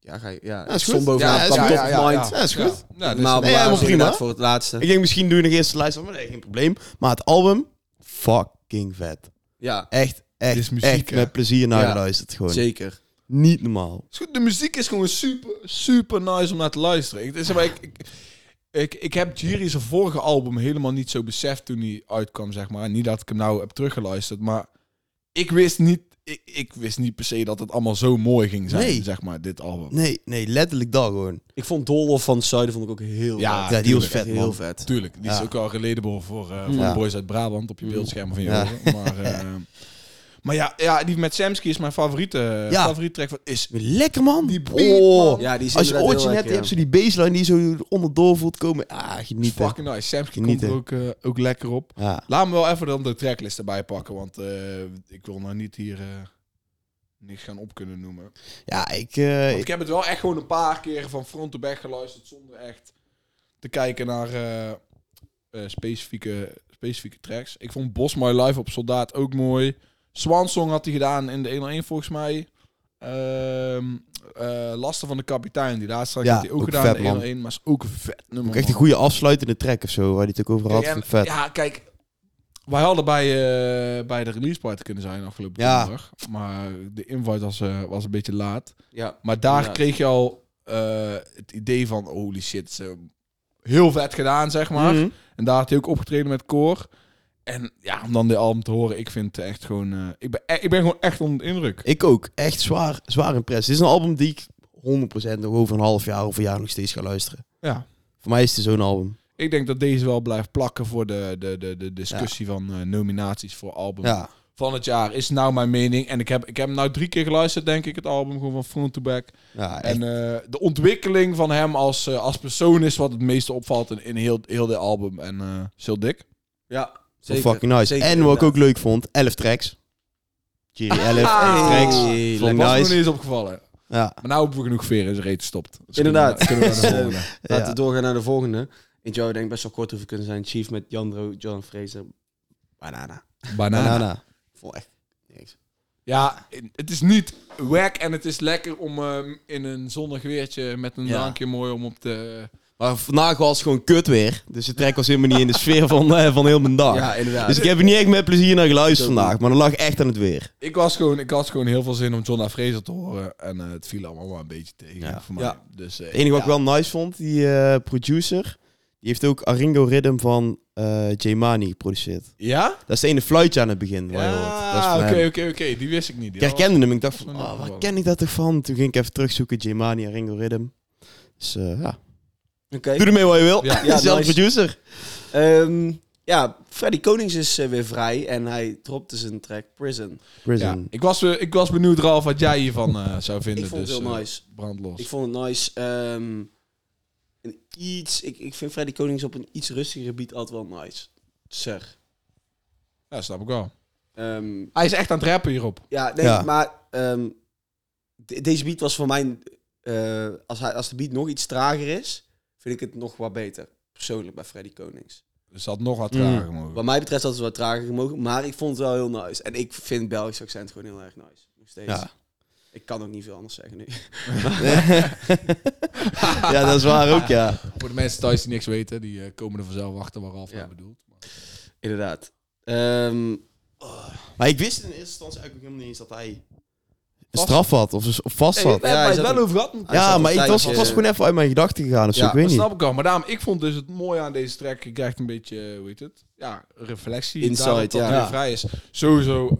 Ja, ga je, ja. is stond goed. bovenaan Ja, is kwam top goed. of mind. Ja, is goed. Ja, dus- Normaal nee, helemaal waren ze prima. inderdaad voor het laatste. Ik denk misschien doe je nog eerst de lijst, maar nee, geen probleem. Maar het album, fucking vet. Ja, Echt, echt, Dit is muziek, echt hè? met plezier naar Ja. geluisterd. Gewoon zeker. niet normaal. Het is goed, De muziek is gewoon super, super nice om naar te luisteren. Ik, zeg maar, ik, ik, Ik, ik heb Jiri zijn vorige album helemaal niet zo beseft toen hij uitkwam, zeg maar. Niet dat ik hem nou heb teruggeluisterd, maar ik wist niet, ik, ik wist niet per se dat het allemaal zo mooi ging zijn, Nee. zeg maar, dit album. Nee, nee, letterlijk dat gewoon. Ik vond Doolhof van het Zuiden vond ik ook heel Ja, vet. Ja, die was tuurlijk. vet, man. Heel vet. Tuurlijk, die is Ja. ook al relatable voor, eh voor Ja. Mm. de boys uit Brabant op je beeldscherm van je Ja. ogen. Maar, eh, maar ja, ja, die met Samsky is mijn favoriete, Ja. favoriete track. Van, is Lekker, man. Die beat, oh. man. Ja, die is Als je inderdaad ooit heel je net lekker, hebt, zo die baseline die zo onderdoor voelt komen. Ah, is geniet hè. fucking nice. Samsky komt Genieten. er ook, eh, ook lekker op. Ja. Laat me wel even dan de tracklist erbij pakken, want eh, ik wil nou niet hier eh, niks gaan op kunnen noemen. Want ja, ik... eh, ik heb het wel echt gewoon een paar keer van front to back geluisterd zonder echt te kijken naar eh, eh, specifieke, specifieke tracks. Ik vond Bos My Life op Soldaat ook mooi. Swansong had hij gedaan in de 101 volgens mij. Ehm, eh, Lasten van de kapitein, die laatste had Ja, hij ook, ook gedaan vet, in de man. 101, maar is ook een vet nummer. ook echt man. een goede afsluitende track of zo, waar hij het ook over had. Kijk, Vind en- ik vet. Ja, kijk. Wij hadden bij, eh, bij de release party kunnen zijn afgelopen Ja. donderdag. Maar de invite was, eh, was een beetje laat. Ja. Maar daar Ja. kreeg je al eh, het idee van... Holy shit, ze hebben heel vet gedaan, zeg maar. Mhm. En daar had hij ook opgetreden met Koor. En ja, om dan de album te horen, ik vind het echt gewoon... eh, ik, ben, e- ik ben gewoon echt onder de indruk. Ik ook. Echt zwaar, zwaar impress. Dit is een album die ik 100% nog over een half jaar of een jaar nog steeds ga luisteren. Ja. Voor mij is het zo'n album. Ik denk dat deze wel blijft plakken voor de, de, de, de discussie van eh, nominaties voor album. Ja. van het jaar is nou mijn mening. En ik heb, ik heb hem nou drie keer geluisterd, denk ik, het album gewoon van front to back. ja echt. En eh, de ontwikkeling van hem als, eh, als persoon is wat het meeste opvalt in, in heel, heel dit album. En eh, is heel dik. Ja. Wel Zeker. fucking nice. Zeker, en wat ik inderdaad. ook leuk vond, 11 tracks. Jerry 11, 11 Ah. Hey, tracks. lekker. Vond Was ik me nog niet nice. eens opgevallen. Ja. Maar nou hebben we genoeg veren in zijn reet gestopt. Dus Inderdaad. Kunnen we, kunnen we naar de volgende. Laten Ja. we doorgaan naar de volgende. In jou denk ik best wel kort hoeven kunnen zijn. Chief met Jandro, John Fraser, Banana. Banana. Banana. Ik vond echt niks. Ja, het is niet wack en het is lekker om eh, in een zonnig weertje met een Ja. drankje mooi om op de... Maar vandaag was het gewoon kut weer. Dus de track was helemaal niet in de sfeer van, eh, van heel mijn dag. Ja, inderdaad. Dus ik heb er niet echt met plezier naar geluisterd Zo. vandaag. Maar dat lag echt aan het weer. Ik, was gewoon, ik had gewoon heel veel zin om John Fraser te horen. En eh, het viel allemaal wel een beetje tegen Ja. voor mij. Ja. Dus, eh, Het enige wat ja. ik wel nice vond, die eh, producer, die heeft ook Aringo Rhythm van eh J Mani geproduceerd. Ja? Dat is de ene fluitje aan het begin. Waar je hoort. Dat is Ja, van oké, hem. oké, oké. Die wist ik niet. Ik Die herkende hem. Ik dacht van, dat was me oh, nog waar wel. ken ik dat toch van? Toen ging ik even terugzoeken. Jemani en Ringo Rhythm. Dus eh, ja. Oké. Doe ermee wat je wil. Ja. Ja, Ja, Zelf nice. producer. Ehm, ja, Freddy Konings is eh, weer vrij en hij dropte zijn track Prison. Ja, Prison. ik, was, eh, ik was benieuwd, Ralf, wat jij hiervan eh, zou vinden. Ik vond dus, het heel eh, nice. Brandlos. Ik vond het nice. ehm, een iets, ik, ik vind Freddy Konings op een iets rustiger gebied altijd wel nice. Zeg. Ja, snap ik wel. Ehm, Hij is echt aan het rappen hierop. ja, nee, Ja. maar ehm, de- deze beat was voor mij... eh, als, hij, als de beat nog iets trager is, vind ik het nog wat beter. Persoonlijk bij Freddy Konings. Dus dat nog wat Mm. trager mogen. Wat mij betreft had het wat trager gemogen, maar ik vond het wel heel nice. En ik vind Belgisch accent gewoon heel erg nice. Nog steeds. Ja. Ik kan ook niet veel anders zeggen nu. ja, dat is waar ook, ja. Voor de mensen thuis die niks weten, die eh, komen er vanzelf achter waar Ralf Ja. naar bedoelt. Inderdaad. Ehm, Maar ik wist in eerste instantie eigenlijk ook helemaal niet eens dat hij een straf had. Of, of vast Nee, zat. we Ja, hij hebben het zat wel er- over gehad. Hij zat Ja, een maar ik was, tijdje- het was gewoon even uit mijn gedachten gegaan of zo. Ja, ik weet Dat niet. snap ik al. Maar daarom, ik vond dus het mooie aan deze track. Je krijgt een beetje, eh, hoe heet het? Ja, reflectie. Insight, Daarom dat ja. hij Ja. vrij is. Sowieso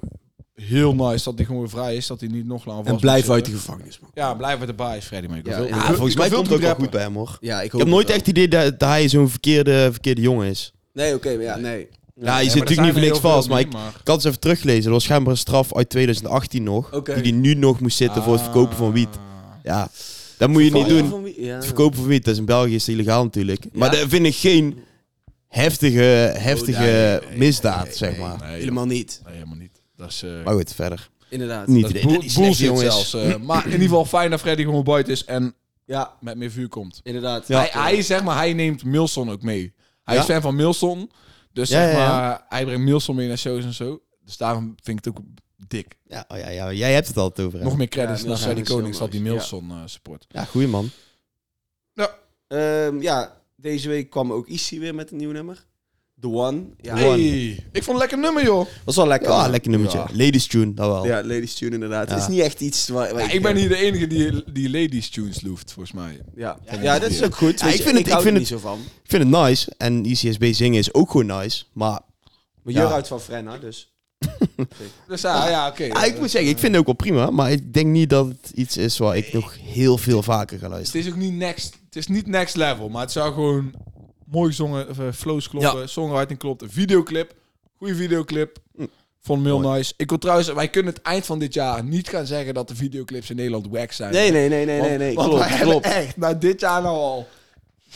heel nice dat hij gewoon vrij is. Dat hij niet nog langer vast en moet blijf zitten. uit de gevangenis, man. Ja, blijf uit de baas, Freddy. Maar ik wil Ja, veel- ja, ik Ja, wil- volgens mij ik wil komt het ook veel goed wel goed bij hem, hoor. Ja, ik, Ik hoop heb nooit het echt het idee dat, dat hij zo'n verkeerde, verkeerde jongen is. wel. Nee, oké, maar ja, nee. Ja, hij Ja, zit maar er natuurlijk niet voor zijn er niks heel veel vast, maar ik niet, Ik had het eens even teruglezen. Dat was schijnbaar een straf uit 2018 nog. Oké. Die hij nu nog moest zitten voor het verkopen van wiet. Ah. Ja, dat moet je niet Verkopen doen. van wie- Ja. Het verkopen van wiet, dat is in België is het illegaal natuurlijk. Maar dat vind ik geen heftige, Oh, heftige misdaad, zeg maar. Ah, Nee, Helemaal niet. nee, helemaal niet. Dat is, eh, Maar goed, verder. Inderdaad. Niet dat idee is dat boel- hij slecht bullshit jong is. zelfs. eh, maar in ieder geval fijn dat Freddy gewoon buiten is en Ja, met meer vuur komt. inderdaad. Ja. Hij, hij, zeg maar, hij neemt Milson ook mee. Hij Ja. is fan van Milson. Dus Ja, zeg ja, maar, ja. hij brengt Milson mee naar shows en zo. Dus daarom vind ik het ook dik. Ja, oh ja, ja, jij hebt het altijd over. hè? Nog meer credits Ja, naar Milson Freddy is heel Konings dat die nice. Milson eh, support. Ja, goeie man. Ehm, ja, deze week kwam ook Issy weer met een nieuw nummer. The One. Ja, Hey, ik vond het lekker nummer, joh. was wel lekker. Ja, lekker nummertje. Ja. Ladies tune, dat wel. Ja, Ladies Tune inderdaad. Ja. Het is niet echt iets waar... waar Ja, ik ben niet de enige die, die ladies tunes loeft, volgens mij. Ja, ja dat is ook goed. Ja, Weet ik je, vind het- ik hou vind er niet zo van. Ik vind het nice. En ICSB zingen is ook gewoon nice. Maar Maar Ja. je houdt van Frenna, dus... Dus ja, ja oké. ja, ik moet zeggen, ik vind het ook wel prima. Maar ik denk niet dat het iets is waar ik nog heel veel vaker ga Het luisteren. is ook niet next, het is niet next level, maar het zou gewoon mooi zongen, of, eh, flows kloppen, songwriting klopt, videoclip, goede videoclip. Mm. Vond me heel Mooi. nice. Ik wil trouwens, wij kunnen het eind van dit jaar niet gaan zeggen dat de videoclips in Nederland wack zijn. Nee, nee, nee, nee, Want- nee. nee. want Klopt, wij hebben klopt. echt, nou dit jaar nou al,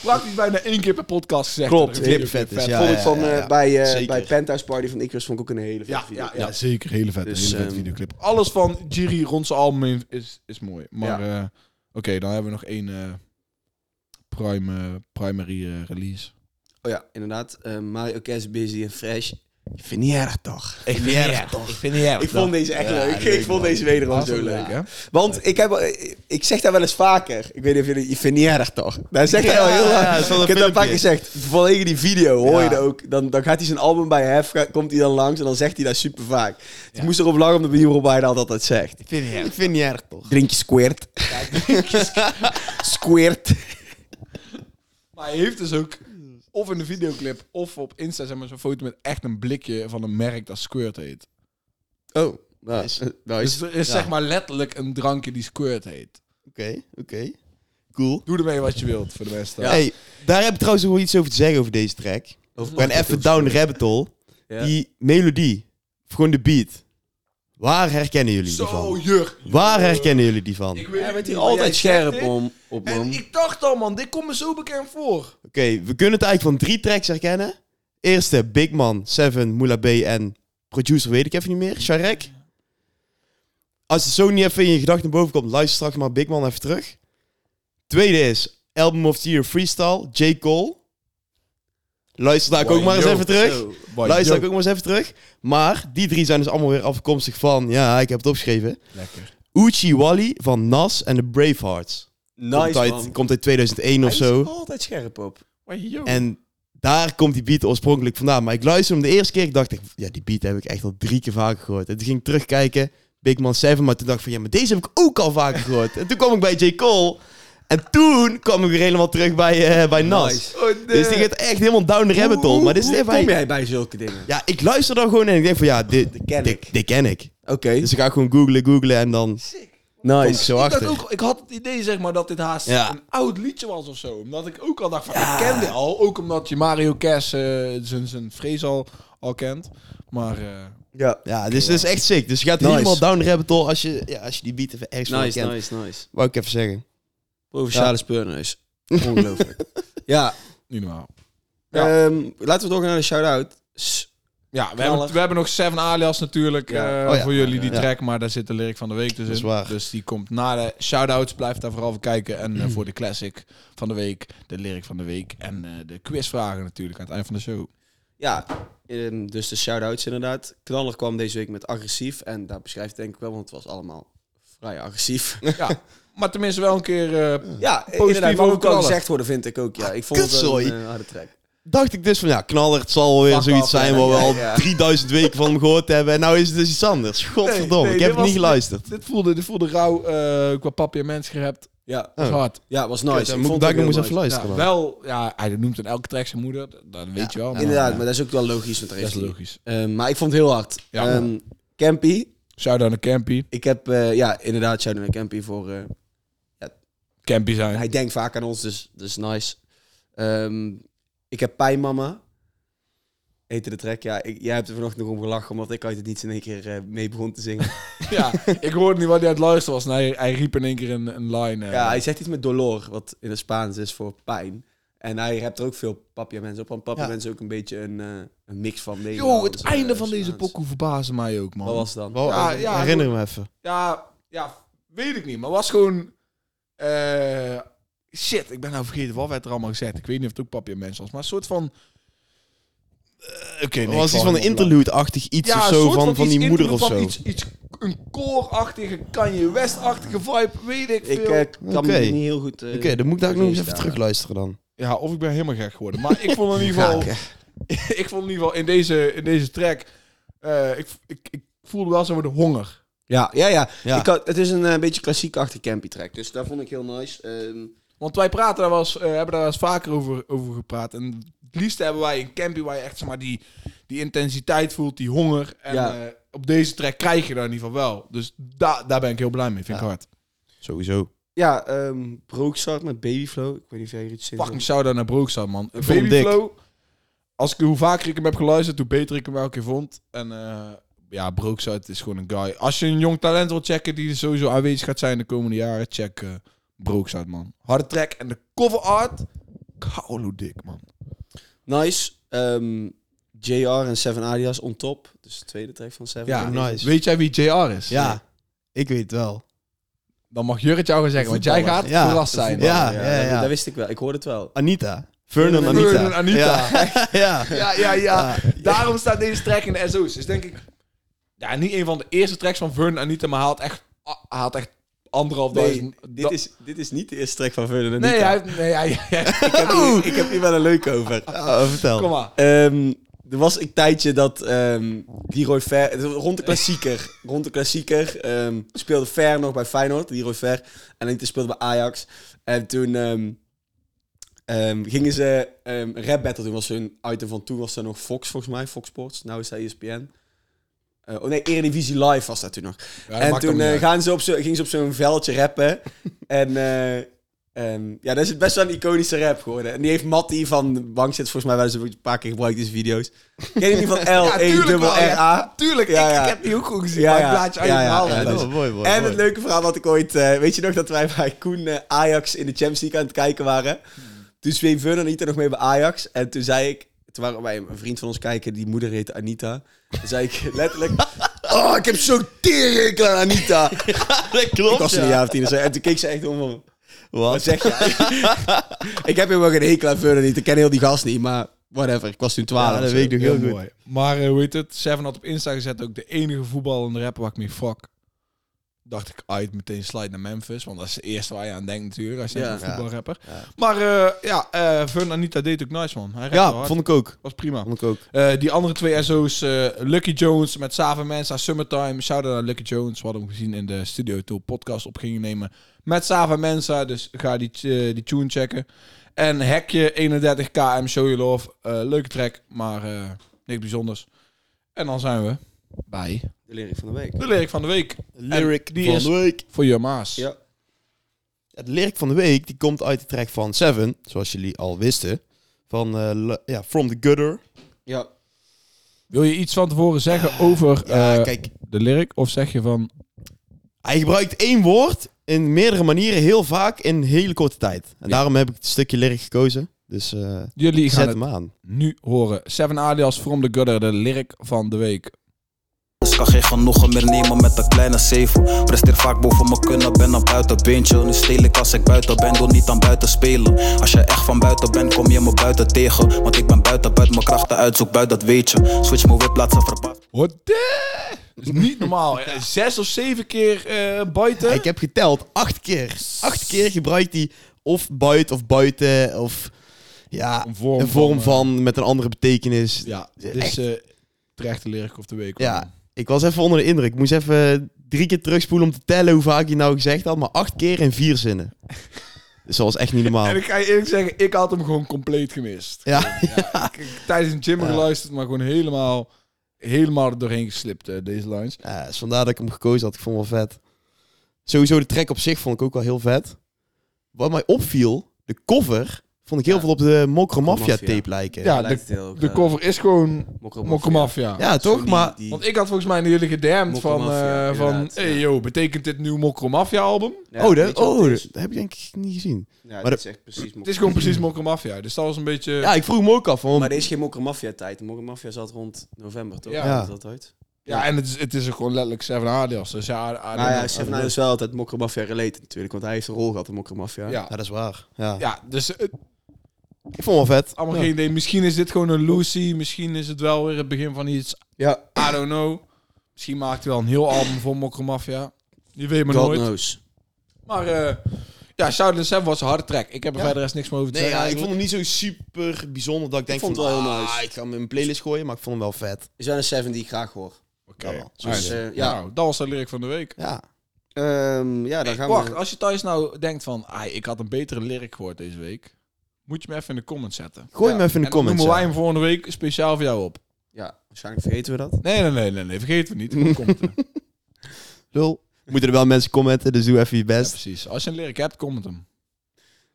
praktisch bijna één keer per podcast gezegd. Klopt, dat er een videoclip clipvet is, vet ja, Vond ja. ik van eh, bij, eh, Zeker. bij Penthouse Party van Icarus vond ik ook een hele Ja, vette ja, video. ja, zeker. Hele vet. Dus, hele vet ehm, videoclip. Alles van Jiri rond zijn album heen is, is mooi. Maar eh, oké, dan hebben we nog één eh, prime, eh, primary eh, release. Oh ja, inderdaad. Eh, Mario Kers, Busy en Fresh. Ik vind het niet erg, toch? Ik vind het erg, toch? Ik vind het Ik vond deze echt leuk. Ik vond deze wederom zo leuk. hè? Want ik, heb, eh, ik zeg dat wel eens vaker. Ik weet niet of jullie... Ik vind het niet erg, toch? Dat zeg je Ja, al heel ja, lang. dat is wel een ik heb dat een paar filmpje. keer gezegd. Vanwege die video hoor Ja. je dat ook. Dan, dan gaat hij zijn album bij Hef, gaat- komt hij dan langs en dan zegt hij dat super vaak. Dus ik moest erop lachen om de manier waarop hij dat altijd zegt. Ik vind het erg. Ik vind het erg, toch? Drink je squirt. squirt. Maar hij heeft dus ook, of in de videoclip, of op Insta, zeg maar, zo'n foto met echt een blikje van een merk dat Squirt heet. Oh, nou, Nice. eh, Dus nice. er is Ja. zeg maar letterlijk een drankje die Squirt heet. Oké, oké. Cool. Doe ermee wat je wilt voor de rest. eh. Ja. Hey, daar heb ik trouwens ook wel iets over te zeggen over deze track. We gaan even down rabbit hole. Ja. Die melodie, of gewoon de beat. Waar herkennen jullie die Zo, van? jur. Waar herkennen jullie die van? Ik Oké, weet Hm. Hij bent niet hier wat altijd jij zegt, scherp hè? om, op, En man. ik dacht al, man, dit komt me zo bekend voor. we kunnen het eigenlijk van drie tracks herkennen. Eerste, Big Man, Seven, Moula B en producer weet ik even niet meer, Sharek. Als het zo niet even in je gedachten boven komt, luister straks maar Big Man even terug. Tweede is Album of the Year Freestyle, J. Cole. Luister daar ook Wow, maar eens yo, even terug. Zo. Luister ik ook maar eens even terug. Maar die drie zijn dus allemaal weer afkomstig van, ja, ik heb het opgeschreven. Lekker. Uchi Wally van Nas en de Bravehearts. komt, Nice, uit, man. komt uit 2001 of Hij is er zo. altijd scherp op. En daar komt die beat oorspronkelijk vandaan. Maar ik luisterde hem de eerste keer, ik dacht, ja, die beat heb ik echt al drie keer vaker gehoord. En toen ging ik terugkijken, Big Man 7, maar toen dacht ik van, ja, maar deze heb ik ook al vaker gehoord. En toen kwam ik bij J. Cole. En toen kwam ik weer helemaal terug bij, eh, bij Nas. Nice. Oh, nee. Dus die gaat echt helemaal down the rabbit hole. Hoe- Maar dit is hoe even... kom jij bij zulke dingen? Ja, ik luister dan gewoon en ik denk van ja, dit, Dit ken dit, ik. dit ken ik. Oké, Dus ik ga gewoon googlen, googlen en dan kom ik nice. zo ik, dacht achter. ook, ik had het idee zeg maar dat dit haast Ja. een oud liedje was of zo. Omdat ik ook al dacht van, ik kende al. Ook omdat je Mario Kers eh, zijn zijn vrees al, al kent. Maar eh, Ja. Ja, dus dat is echt sick. Dus je gaat Nice. helemaal down the rabbit hole als je, ja, als je die beat even ergens van Nice, kent. nice, nice. Wou ik even zeggen. Provinciale Ja. speurneus. Ongelooflijk. ja, niet normaal. Ja. ehm, laten we doorgaan naar de shout-out. S- Ja, we Knallig. hebben, we hebben nog Seven Alias natuurlijk Ja. eh, Oh ja. voor jullie die Ja. track. Maar daar zit de lyric van de week dus Dat is in. waar. Dus die komt na de shout-outs. Blijf daar vooral voor kijken. En Mm. eh, voor de classic van de week, de lyric van de week. En eh, de quizvragen natuurlijk aan het eind van de show. Ja, ehm, dus de shout-outs inderdaad. Knaller kwam deze week met agressief. En dat beschrijft denk ik wel, want het was allemaal vrij agressief. ja, maar tenminste wel een keer... eh, ja, over inderdaad. Maar ook al Knaller. gezegd worden vind ik ook. Ja, Ah, ik vond het wel een kutzooi. eh, harde track. Dacht ik dus van ja, knaller, het zal wel weer Fuck zoiets off, zijn ja, waar we ja, al ja. 3000 weken van hem gehoord hebben. En nou is het dus iets anders. Godverdomme, nee, ik heb dit het niet was- geluisterd. Dit voelde, dit voelde rauw eh, qua papi en mens gerept. Ja, Dat is Oh. hard. ja was nice. Kut, eh, dan ik moet ik vond daar het nog ook eens heel even nice. Ja, luisteren. man. wel, ja, hij noemt in elke track zijn moeder. Dat, dat weet je wel. maar- Inderdaad, Ja, maar dat is ook wel logisch met de Ah. dat is rest. logisch. Ehm, maar ik vond het heel hard. Ja. Ehm, Campy, Shout-out naar Campy. Ik heb, eh, ja, inderdaad, shout naar Campy voor... eh, Campy zijn. hij denkt vaak aan ons, dus dat is nice. Ehm, ik heb Pijnmama. Heette de track, ja. Ik, jij hebt er vanochtend nog om gelachen, omdat ik uit het niets in één keer eh, mee begon te zingen. Ja, ik hoorde niet wat hij aan het luisteren was. En hij, hij riep in één keer een, een line. eh. ja, hij zegt iets met dolor, wat in het Spaans is voor pijn. En hij hebt er ook veel papia mensen op, want papia Ja. mensen ook een beetje een, eh, een mix van Nederlands. Yo, het en, einde eh, van deze Spaans. pokoe verbaasde mij ook, man. Wat was het dan? Wel, Ja, eh, ja, herinner me even. Ja, ja, weet ik niet. Maar was gewoon... eh, shit, ik ben nou vergeten. Wat werd er allemaal gezegd? Ik weet niet of het ook papi en mens was. Maar een soort van... eh, Oké, nee, Het ik was val iets van helemaal een blank. interlude-achtig iets of een zo soort van, van iets die moeder of invloed zo. van Iets, iets, een koorachtige Kanye West-achtige vibe, weet ik Ik veel. eh, kan Oké. me niet heel goed... eh, Oké, dan moet ik daar ook nog eens Vergeet even daar. terugluisteren dan. ja, of ik ben helemaal gek geworden. Maar ik vond in ieder geval... ik vond in ieder geval in deze, in deze track... eh, ik, ik, ik voelde wel zo de honger. Ja, ja, ja. Ja. Ik had- het is een eh, beetje klassiek achter campy track. Dus daar vond ik heel nice. Ehm, Want wij praten daar wel eens, eh, hebben daar wel eens vaker over, over gepraat. En het liefst hebben wij een campy waar je echt zeg maar, die, die intensiteit voelt, die honger. En Ja. eh, op deze track krijg je daar in ieder geval wel. Dus da, daar ben ik heel blij mee. Vind ik hard. Sowieso. ja, ehm Brookstart met Babyflow. Ik weet niet of jij hier iets in Fucking shout-out naar Broekstad, man. vond hem dik. Babyflow. Als ik, hoe vaker ik hem heb geluisterd, hoe beter ik hem elke keer vond. En eh, ja, Broekstad is gewoon een guy. Als je een jong talent wil checken die er sowieso aanwezig gaat zijn de komende jaren, check eh Broekstad, man. Harde track en de cover art. Kaulo dik, man. Nice. Ehm, JR en Seven Alias on top. Dus de tweede track van Seven Ja, Alias. nice. Weet jij wie JR is? Ja, ik weet het wel. Dan mag Jurrit jou gaan zeggen, want jij gaat Voetballer. Ja. verrast zijn. Voetballer. Ja, Ja, ja, ja, ja. Dat wist ik wel. Ik hoorde het wel. Anita. Vernon Anita. Vernon Anita. Ja. ja. Ja, ja, ja. Ah. Ja. Daarom staat deze track in de SO's. Dus denk ik, ja, niet een van de eerste tracks van Vern Anita, maar hij had echt, ah, hij had echt anderhalf duizend. dit is, dit is niet de eerste track van Vernon Nee, Anita. hij heeft, nee, hij, ik, heb hier, ik heb hier wel een leuke over. Ja, Oh, vertel. kom maar. Ehm, er was een tijdje dat ehm Leroy Fer... Rond de klassieker. rond de klassieker ehm, speelde Fer nog bij Feyenoord. Leroy Fer. En Anita speelde bij Ajax. En toen ehm, ehm, gingen ze ehm, een rap battle doen. Was hun item van toen was er nog Fox volgens mij. Fox Sports. Nou is dat ESPN. Eh, oh nee, Eredivisie Live was dat toen nog. en toen eh, gaan ze op zo, gingen ze op zo'n veldje rappen. en eh, ehm, ja, dat is best wel een iconische rap geworden. En die heeft Matty van de bank zit volgens mij wel eens een paar keer gebruikt in zijn video's. Ken je die van Ja, tuurlijk wel, E ja. L-E-R-A? Tuurlijk, Ja, ik, ja. ik heb die ook goed gezien, Ja, maar ik ja. laat je uit Ja, het ja, verhaal ja, vertellen. dat is dus- mooi, mooi, En mooi. het leuke verhaal wat ik ooit... eh, weet je nog dat wij bij Koen eh, Ajax in de Champions League aan het kijken waren? Toen zweef Vernon en Anita nog mee bij Ajax. En toen zei ik... Toen waren wij een vriend van ons kijken, die moeder heette Anita. Toen zei ik letterlijk... Oh, ik heb zo'n tering aan Anita. dat klopt, Ik was in ja. een jaar of tien of zo. En toen keek ze echt om van... Wat Wat? zeg je? ik heb helemaal geen hekel aan verder niet. Ik ken heel die gast niet, maar whatever. Ik was toen dus, eh. 12. Ja, of dat zo. weet ik nog heel, goed. mooi. Maar eh, hoe heet het? Seven had op Insta gezet ook de enige voetballende rapper waar ik mee fuck. Dacht ik uit meteen slide naar Memphis, want dat is het eerste waar je aan denkt natuurlijk als je Ja. een Ja. voetbalrapper. Ja. Maar eh, ja, eh Vern Anita deed ook nice man. Hij rapte wel Ja, hard. vond ik ook. was prima. Vond ik ook. Eh, die andere twee SO's, eh, Lucky Jones met Saven Mensa, Summertime. Shout-out naar Lucky Jones. We hadden hem gezien in de Studio Tour podcast op gingen nemen met Saven Mensa. Dus ga die, eh, die tune checken. En Hekje 31 KM Show Your Love. Eh, leuke track, maar eh, niks bijzonders. En dan zijn we bij De lyric van de week. de lyric van de week Lyric En die van is- de week. voor Jamaas. Ja. Het lyric van de week die komt uit de track van Seven, zoals jullie al wisten. Van eh, Le- ja, From the Gutter. Ja. Wil je iets van tevoren zeggen over Ja, eh, kijk, de lyric? Of zeg je van... hij gebruikt één woord in meerdere manieren, heel vaak in hele korte tijd. En daarom heb ik het stukje lyric gekozen. Dus eh, Jullie gaan zet het hem aan. nu horen. Seven Alias From The Gutter, de lyric van de week. Dus kan geen genoegen meer nemen met een kleine zeven. Presteer vaak boven me kunnen, ben een buitenbeentje. Nu steel ik als ik buiten ben, doe niet aan buiten spelen. Als je echt van buiten bent, kom je me buiten tegen. Want ik ben buiten, buiten mijn krachten uit, zoek buiten, dat weet je. Switch mijn whip, laat ze verbaasd. What the? Dat is niet normaal. Ja, Zes of zeven keer eh buiten. Ik heb geteld, acht keer. Acht keer gebruikt hij of buit of buiten of ja, Een een vorm vorm, van, van, met een andere betekenis. Ja. ja, dus eh terechte lyric of de week. man. ik was even onder de indruk. Ik moest even drie keer terugspoelen om te tellen hoe vaak hij nou gezegd had, maar acht keer in vier zinnen. dus dat was echt niet normaal. En ik ga je eerlijk zeggen, ik had hem gewoon compleet gemist. Ja, Ja, ik, ik- tijdens een gym geluisterd, maar gewoon helemaal, helemaal er doorheen geslipt, eh, deze lines. Ja, dus vandaar dat ik hem gekozen had. Ik vond hem wel vet. Sowieso de track op zich vond ik ook wel heel vet. Wat mij opviel, de cover, vond ik heel Ja. veel op de Mokro Mafia Mafia. tape lijken. Ja, lijkt het de, heel eh, ook, de ja. cover is gewoon Mokro Mokko Mafia. Ja, toch? Die- maar Oh, die- Want ik had volgens mij een hele gedamd Mokko van, Mafia, eh, van inderdaad, hey ja. yo, betekent dit nieuw Mokro Mafia album? Ja, oh, weet je dus- dat, wat het oh is? dat heb ik denk ik niet gezien. Ja, Maar dit is echt precies Het Mokro is gewoon precies Mokro Mafia, dus dat was een beetje... Ja, ik vroeg me ook af. Want, Maar er is geen Mokro Mafia tijd. Mokro Mafia zat rond november, toch? Ja. Dat is altijd. Ja, en het is, het is ook gewoon letterlijk Seven Adios. Dus ja, I- I don't Nou ja, know. Seven Alias is wel altijd Mokro Mafia related natuurlijk. Want hij heeft een rol gehad in Mokro Mafia. Ja, ja, dat is waar. Ja. ja dus het, Ik vond hem wel vet. allemaal Ja. geen idee. Misschien is dit gewoon een Lucy. Misschien is het wel weer het begin van iets. ja. I don't know. Misschien eh, maakt hij wel een heel album voor Mokro Mafia. Je weet maar God nooit. knows. Maar eh, Ja, Shoutable Seven was een harde track. Ik heb er Ja. verder eens niks meer over te Nee, ja, zeggen. ik vond eigenlijk. hem niet zo super bijzonder dat ik denk vond van, het wel heel ah, nice. ik ga hem in mijn playlist gooien, maar ik vond hem wel vet. Is wel een seven die ik graag hoor. Oké. Ja, man. Dus, Nice. eh, ja. Nou, dat was de lyric van de week. Ja. Ehm, ja, dan gaan Wacht, we... als je thuis nou denkt van... Ah, ik had een betere lyric gehoord deze week. Moet je me even in de comments zetten. Gooi Ja. hem even in de En dan comments. noemen wij ja. hem volgende week speciaal voor jou op. Ja, waarschijnlijk vergeten we dat. Nee, nee, nee, nee, nee vergeet het niet. Comment. hè. Ja, Lul. Moeten er wel mensen commenten, dus doe even je best. precies. Als je een lyric hebt, comment hem.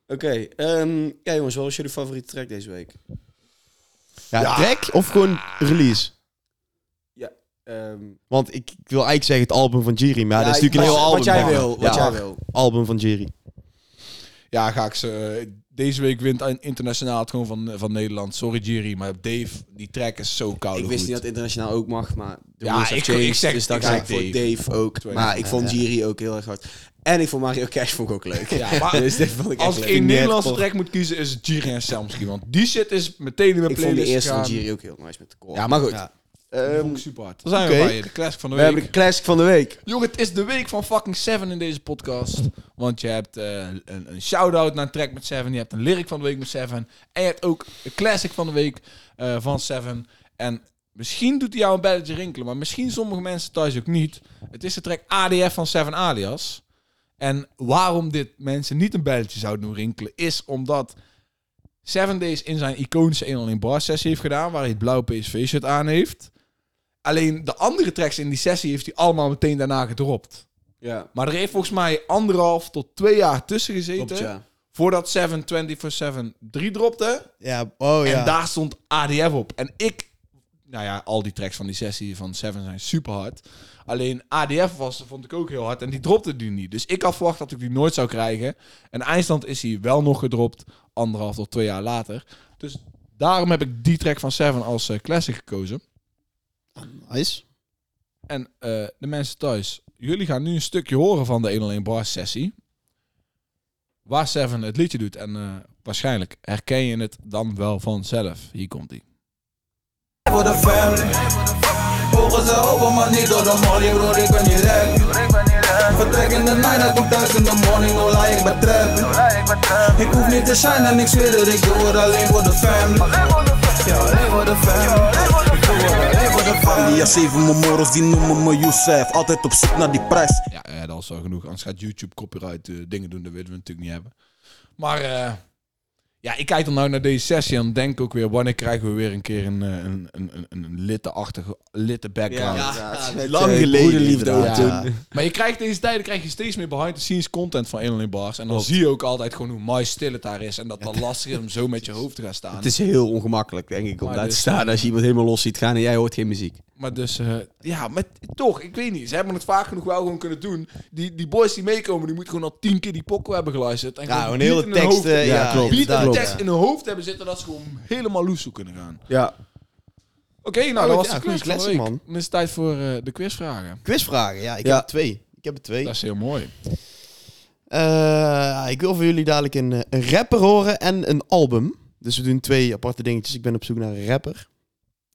Oké, ehm, ja jongens, wat was jullie favoriete track deze week? Ja, track of gewoon release? Ehm, Want ik ik wil eigenlijk zeggen het album van Jiri, maar ja, dat is ik- natuurlijk een heel wat- album. Wat jij maar- wil, wat ja, jij wil. album van Jiri. Ja, ga ik ze... eh, Deze week wint internationaal het gewoon van, eh, van Nederland. Sorry, Jiri, maar Dave, die track is zo koud. Ik wist niet dat internationaal ook mag, maar... de Ja, rules have ik- ik changed, zeg- Dus dan ik ga zeg ik voor Dave. Dave, ook. Twee. Maar ik vond ja. Jiri ook heel erg hard. En ik vond Mario Cash vond ik ook leuk. Ja, maar dus dit vond ik echt Als ik leuk. een net Nederlandse kort. track moet kiezen, is het Jiri en Samsky. Want die shit is meteen in mijn Ik vond de playlist eerste van gegaan. Jiri ook heel nice met de core. Ja, maar goed. ja. Die Ehm, vond ik super hard. Dan zijn we oké. bij je, de classic van de we hebben de week. classic van de week. Jongen, het is de week van fucking Seven in deze podcast. Want je hebt eh, een, een shout-out naar een track met Seven. Je hebt een lyric van de week met Seven. En je hebt ook de classic van de week eh, van Seven. En misschien doet hij jou een belletje rinkelen. Maar misschien sommige mensen thuis ook niet. Het is de track ADF van Seven Alias. En waarom dit mensen niet een belletje zouden doen rinkelen... is omdat Seven Days in zijn iconische 101 bar sessie heeft gedaan... waar hij het blauwe PSV-shirt aan heeft... Alleen de andere tracks in die sessie heeft hij allemaal meteen daarna gedropt. Ja. Maar er heeft volgens mij anderhalf tot twee jaar tussen gezeten. Klopt, ja. Voordat 7 24-7 3 dropte. Ja, oh En ja. daar stond ADF op. En ik... Nou ja, al die tracks van die sessie van Seven zijn super hard. Alleen ADF was, vond ik ook heel hard. En die dropte die niet. Dus ik had verwacht dat ik die nooit zou krijgen. En eindstand is hij wel nog gedropt. Anderhalf tot twee jaar later. Dus daarom heb ik die track van Seven als eh, classic gekozen. Nice. En eh, de mensen thuis, jullie gaan nu een stukje horen van de 101 Bar sessie. Waar Seven het liedje doet. En eh, waarschijnlijk herken je het dan wel vanzelf. Hier komt ie. voor de family. Volgen ze over, maar niet door de money, broer, ik ben niet lek. Vertrek in de night, dan kom thuis in de morning, hoe laat ik betreffen. Ik hoef niet te zijn en ik zweer dat ik doe het alleen voor de family. Ja, alleen voor de family. Ik doe het alleen voor de family. Ja, zeven memoros die noemen me Youssef. Altijd op zoek naar die prijs. Ja, eh, dat is al genoeg. Anders gaat YouTube copyright eh, dingen doen. Dat willen we natuurlijk niet hebben. Maar eh, ja, ik kijk dan nou naar deze sessie. En denk ook weer, wanneer krijgen we weer een keer een, eh, een, een, een, een litte-achtige, litte background. inderdaad. Met, Lang eh, geleden, broederliefde ook inderdaad. toen. Maar je krijgt deze tijden krijg je steeds meer behind-the-scenes content van 101 Bars. En dan zie je ook altijd gewoon hoe mooi stil het daar is. En dat dan lastig is om zo met je hoofd te gaan staan. Het is heel ongemakkelijk, denk ik, om Maar daar dus- te staan als je iemand helemaal los ziet gaan en jij hoort geen muziek. Maar dus, eh, ja, maar toch, ik weet niet. Ze hebben het vaak genoeg wel gewoon kunnen doen. Die, die boys die meekomen, die moeten gewoon al tien keer die pokken hebben geluisterd. En Ja, gewoon een beat hele in hun tekst. hoofd- eh, ja, beat en inderdaad. tekst in hun hoofd hebben zitten dat ze gewoon helemaal loes toe kunnen gaan. Ja. Oké, nou, dat ja, was de goeie quiz van de classic, week. man. Dan is het tijd voor eh, de quizvragen. Quizvragen, ja. Ik Ja. heb er twee. Ik heb er twee. Dat is heel mooi. Eh, ik wil voor jullie dadelijk een, eh, een rapper horen en een album. Dus we doen twee aparte dingetjes. Ik ben op zoek naar een rapper.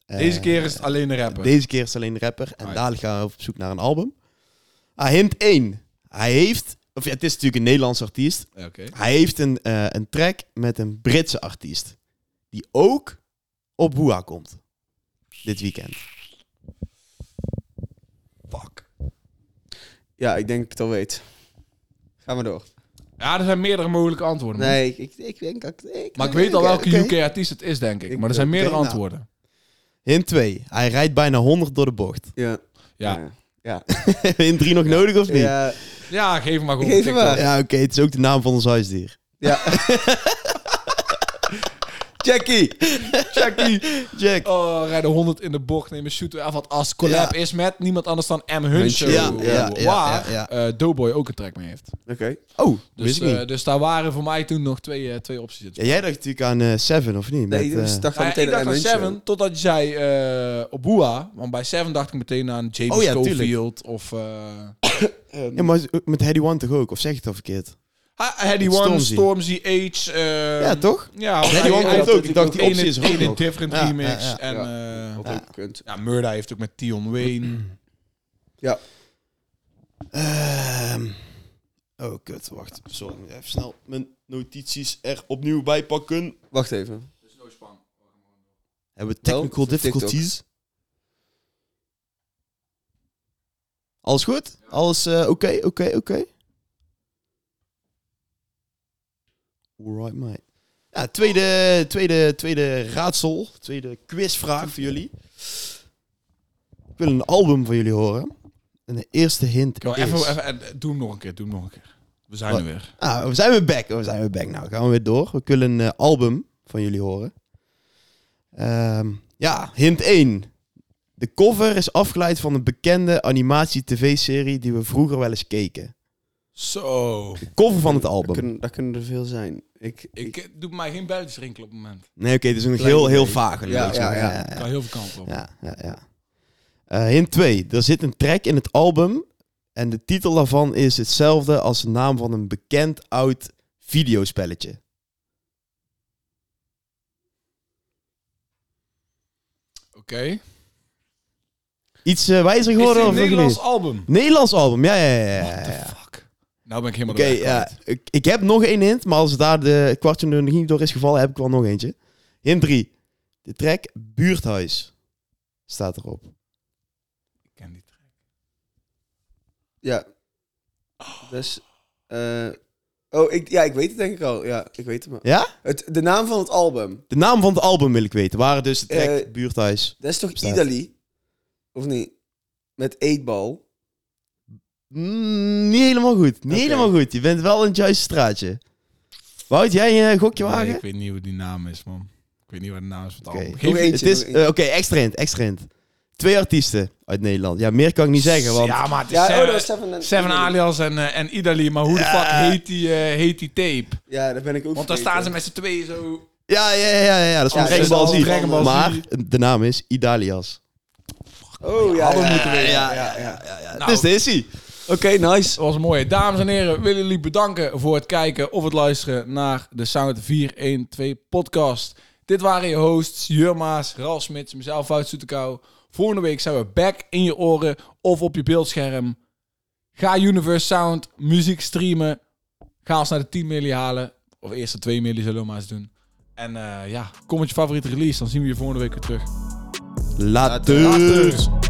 Eh, Deze keer is het alleen de rapper. Ah, Deze keer is het alleen de rapper. En Alright. dadelijk gaan we op zoek naar een album. Ah, hint 1. Hij heeft... Of ja, het is natuurlijk een Nederlands artiest. Ja, Oké. Hij heeft een, eh, een track met een Britse artiest. Die ook op Boa komt. Dit weekend. Fuck. ja, ik denk dat ik het al weet. Gaan we door. Ja, er zijn meerdere mogelijke antwoorden. man. Nee, ik, ik, ik denk dat ik... ik Maar ik weet al welke oké. UK-artiest het is, denk ik. Ik- maar er zijn oké, meerdere nou. antwoorden. Hint 2. Hij rijdt bijna 100 door de bocht. Ja. Ja. Ja. Hint 3 nog nodig of niet? Ja, Ja. Ja, geef hem maar gewoon. Geef op hem maar. TikTok. oké. het is ook de naam van ons huisdier. Jackie! Jackie. Jack. Oh, rijden 100 in de bocht, nemen shooter af. Wat als collab is met niemand anders dan M. Huncho. Ja, ja, ja, waar ja, eh, Doughboy ook een track mee heeft. Oké. Oh, Dus, wist ik niet. eh, dus daar waren voor mij toen nog twee, eh, twee opties. in. Ja, jij dacht natuurlijk aan eh, Seven, of niet? Nee, Met, dus eh, dacht Nou aan ja, meteen ik dacht aan aan Mencho. Seven, totdat je zei eh Obua. Want bij Seven dacht ik meteen aan James Oh ja, tuurlijk. Schofield of... eh ja, maar met Heady One toch ook? Of zeg ik dat verkeerd? Hedy Stormzy. Ah, One, Stormzy, Age. eh, ja, toch? Ja, want die hij- one hij komt had ook. Ik dacht, die ene- optie is er ook ene nog. different Ja, remix. ja, ja. En, eh, Had ook gekund. Ja, Mm. Murda heeft ook met Tion Wayne. Ja. Ehm, Oké, Oh, kut. Wacht. Sorry. Even snel mijn notities er opnieuw bij pakken. Wacht even. Hebben we Wel, technical voor TikTok. difficulties? Alles goed? Alles eh, oké, oké, oké? Alright, mate. Ja, tweede, tweede, tweede raadsel, tweede quizvraag voor jullie. Ik wil een album van jullie horen. En de eerste hint Yo, is... even, even, eh, doe hem nog een keer, doe hem nog een keer. We zijn Wat? er weer. Ah, we zijn weer back. We zijn weer back. Nou, gaan we weer door. We kunnen een eh, album van jullie horen. Ehm, ja, hint 1. De cover is afgeleid van een bekende animatie-tv-serie die we vroeger wel eens keken. Zo. De cover van het album. Daar kunnen, daar kunnen er veel zijn. Ik, Ik eh, doe mij geen belletjes rinkelen op het moment. Nee, oké, het is nog Klein heel, heel idee. vaag. een Ja, beetje. ja, ja. Ik kan heel veel kanten op. Ja, ja, ja. Eh, hint 2. Er zit een track in het album. En de titel daarvan is hetzelfde als de naam van een bekend oud videospelletje. Oké. Iets eh, wijzer Is dit geworden? een of nog Nederlands niet? album? Nederlands album, ja, ja, ja. ja, ja. Fuck. Nou ben ik helemaal Oké, de weg ja, kwijt. ik, ik heb nog één hint, maar als daar de kwartje er nog niet door is gevallen, heb ik wel nog eentje. Hint 3. De track Buurthuis staat erop. Ik ken die track. ja. Dus... eh, oh, ik, ja, ik weet het denk ik al. Ja, ik weet het maar. Ja? Het, de naam van het album. De naam van het album wil ik weten. Waar dus de track Eh, Buurthuis? Dat is toch Bestaat. Idali? Of niet? Met Eetbal. Mm, niet helemaal goed. Niet Oké. helemaal goed. Je bent wel in het juiste straatje. Wout, jij een gokje wagen? Nee, ik weet niet hoe die naam is, man. Ik weet niet wat de naam is van het Oké. album. Nog Geef- eentje, Het is... nog eh, Oké, extra hint, extra hint. Twee artiesten uit Nederland. Ja, meer kan ik niet zeggen, want... Ja, maar het is Ja, oh, Seven, dat was Seven en- Seven Alias en, eh, en Idali. Maar hoe de fuck heet die, eh, heet die tape? Ja, daar ben ik ook Want daar vergeten. staan ze met z'n tweeën zo... Ja, ja, ja, ja, ja, dat is Ja, van dat Dragon is Ball allemaal Z. Dragon Ball Z. Maar de naam is Idalias. Oh, ja, ja, ja, moeten weten. ja, ja, ja. Nou, Dus deze is hij. Oké, nice. Dat was mooi. Dames en heren, willen jullie bedanken voor het kijken of het luisteren naar de Sound 412 podcast. Dit waren je hosts, Jurma's, Ralf Smits, mezelf, Wout Soetekau. Volgende week zijn we back in je oren of op je beeldscherm. Ga Universe Sound muziek streamen. Ga ons naar de 10 milli halen. Of eerst de 2 milli zullen we maar eens doen. En eh, ja, kom met je favoriete release. Dan zien we je volgende week weer terug. Later. Later.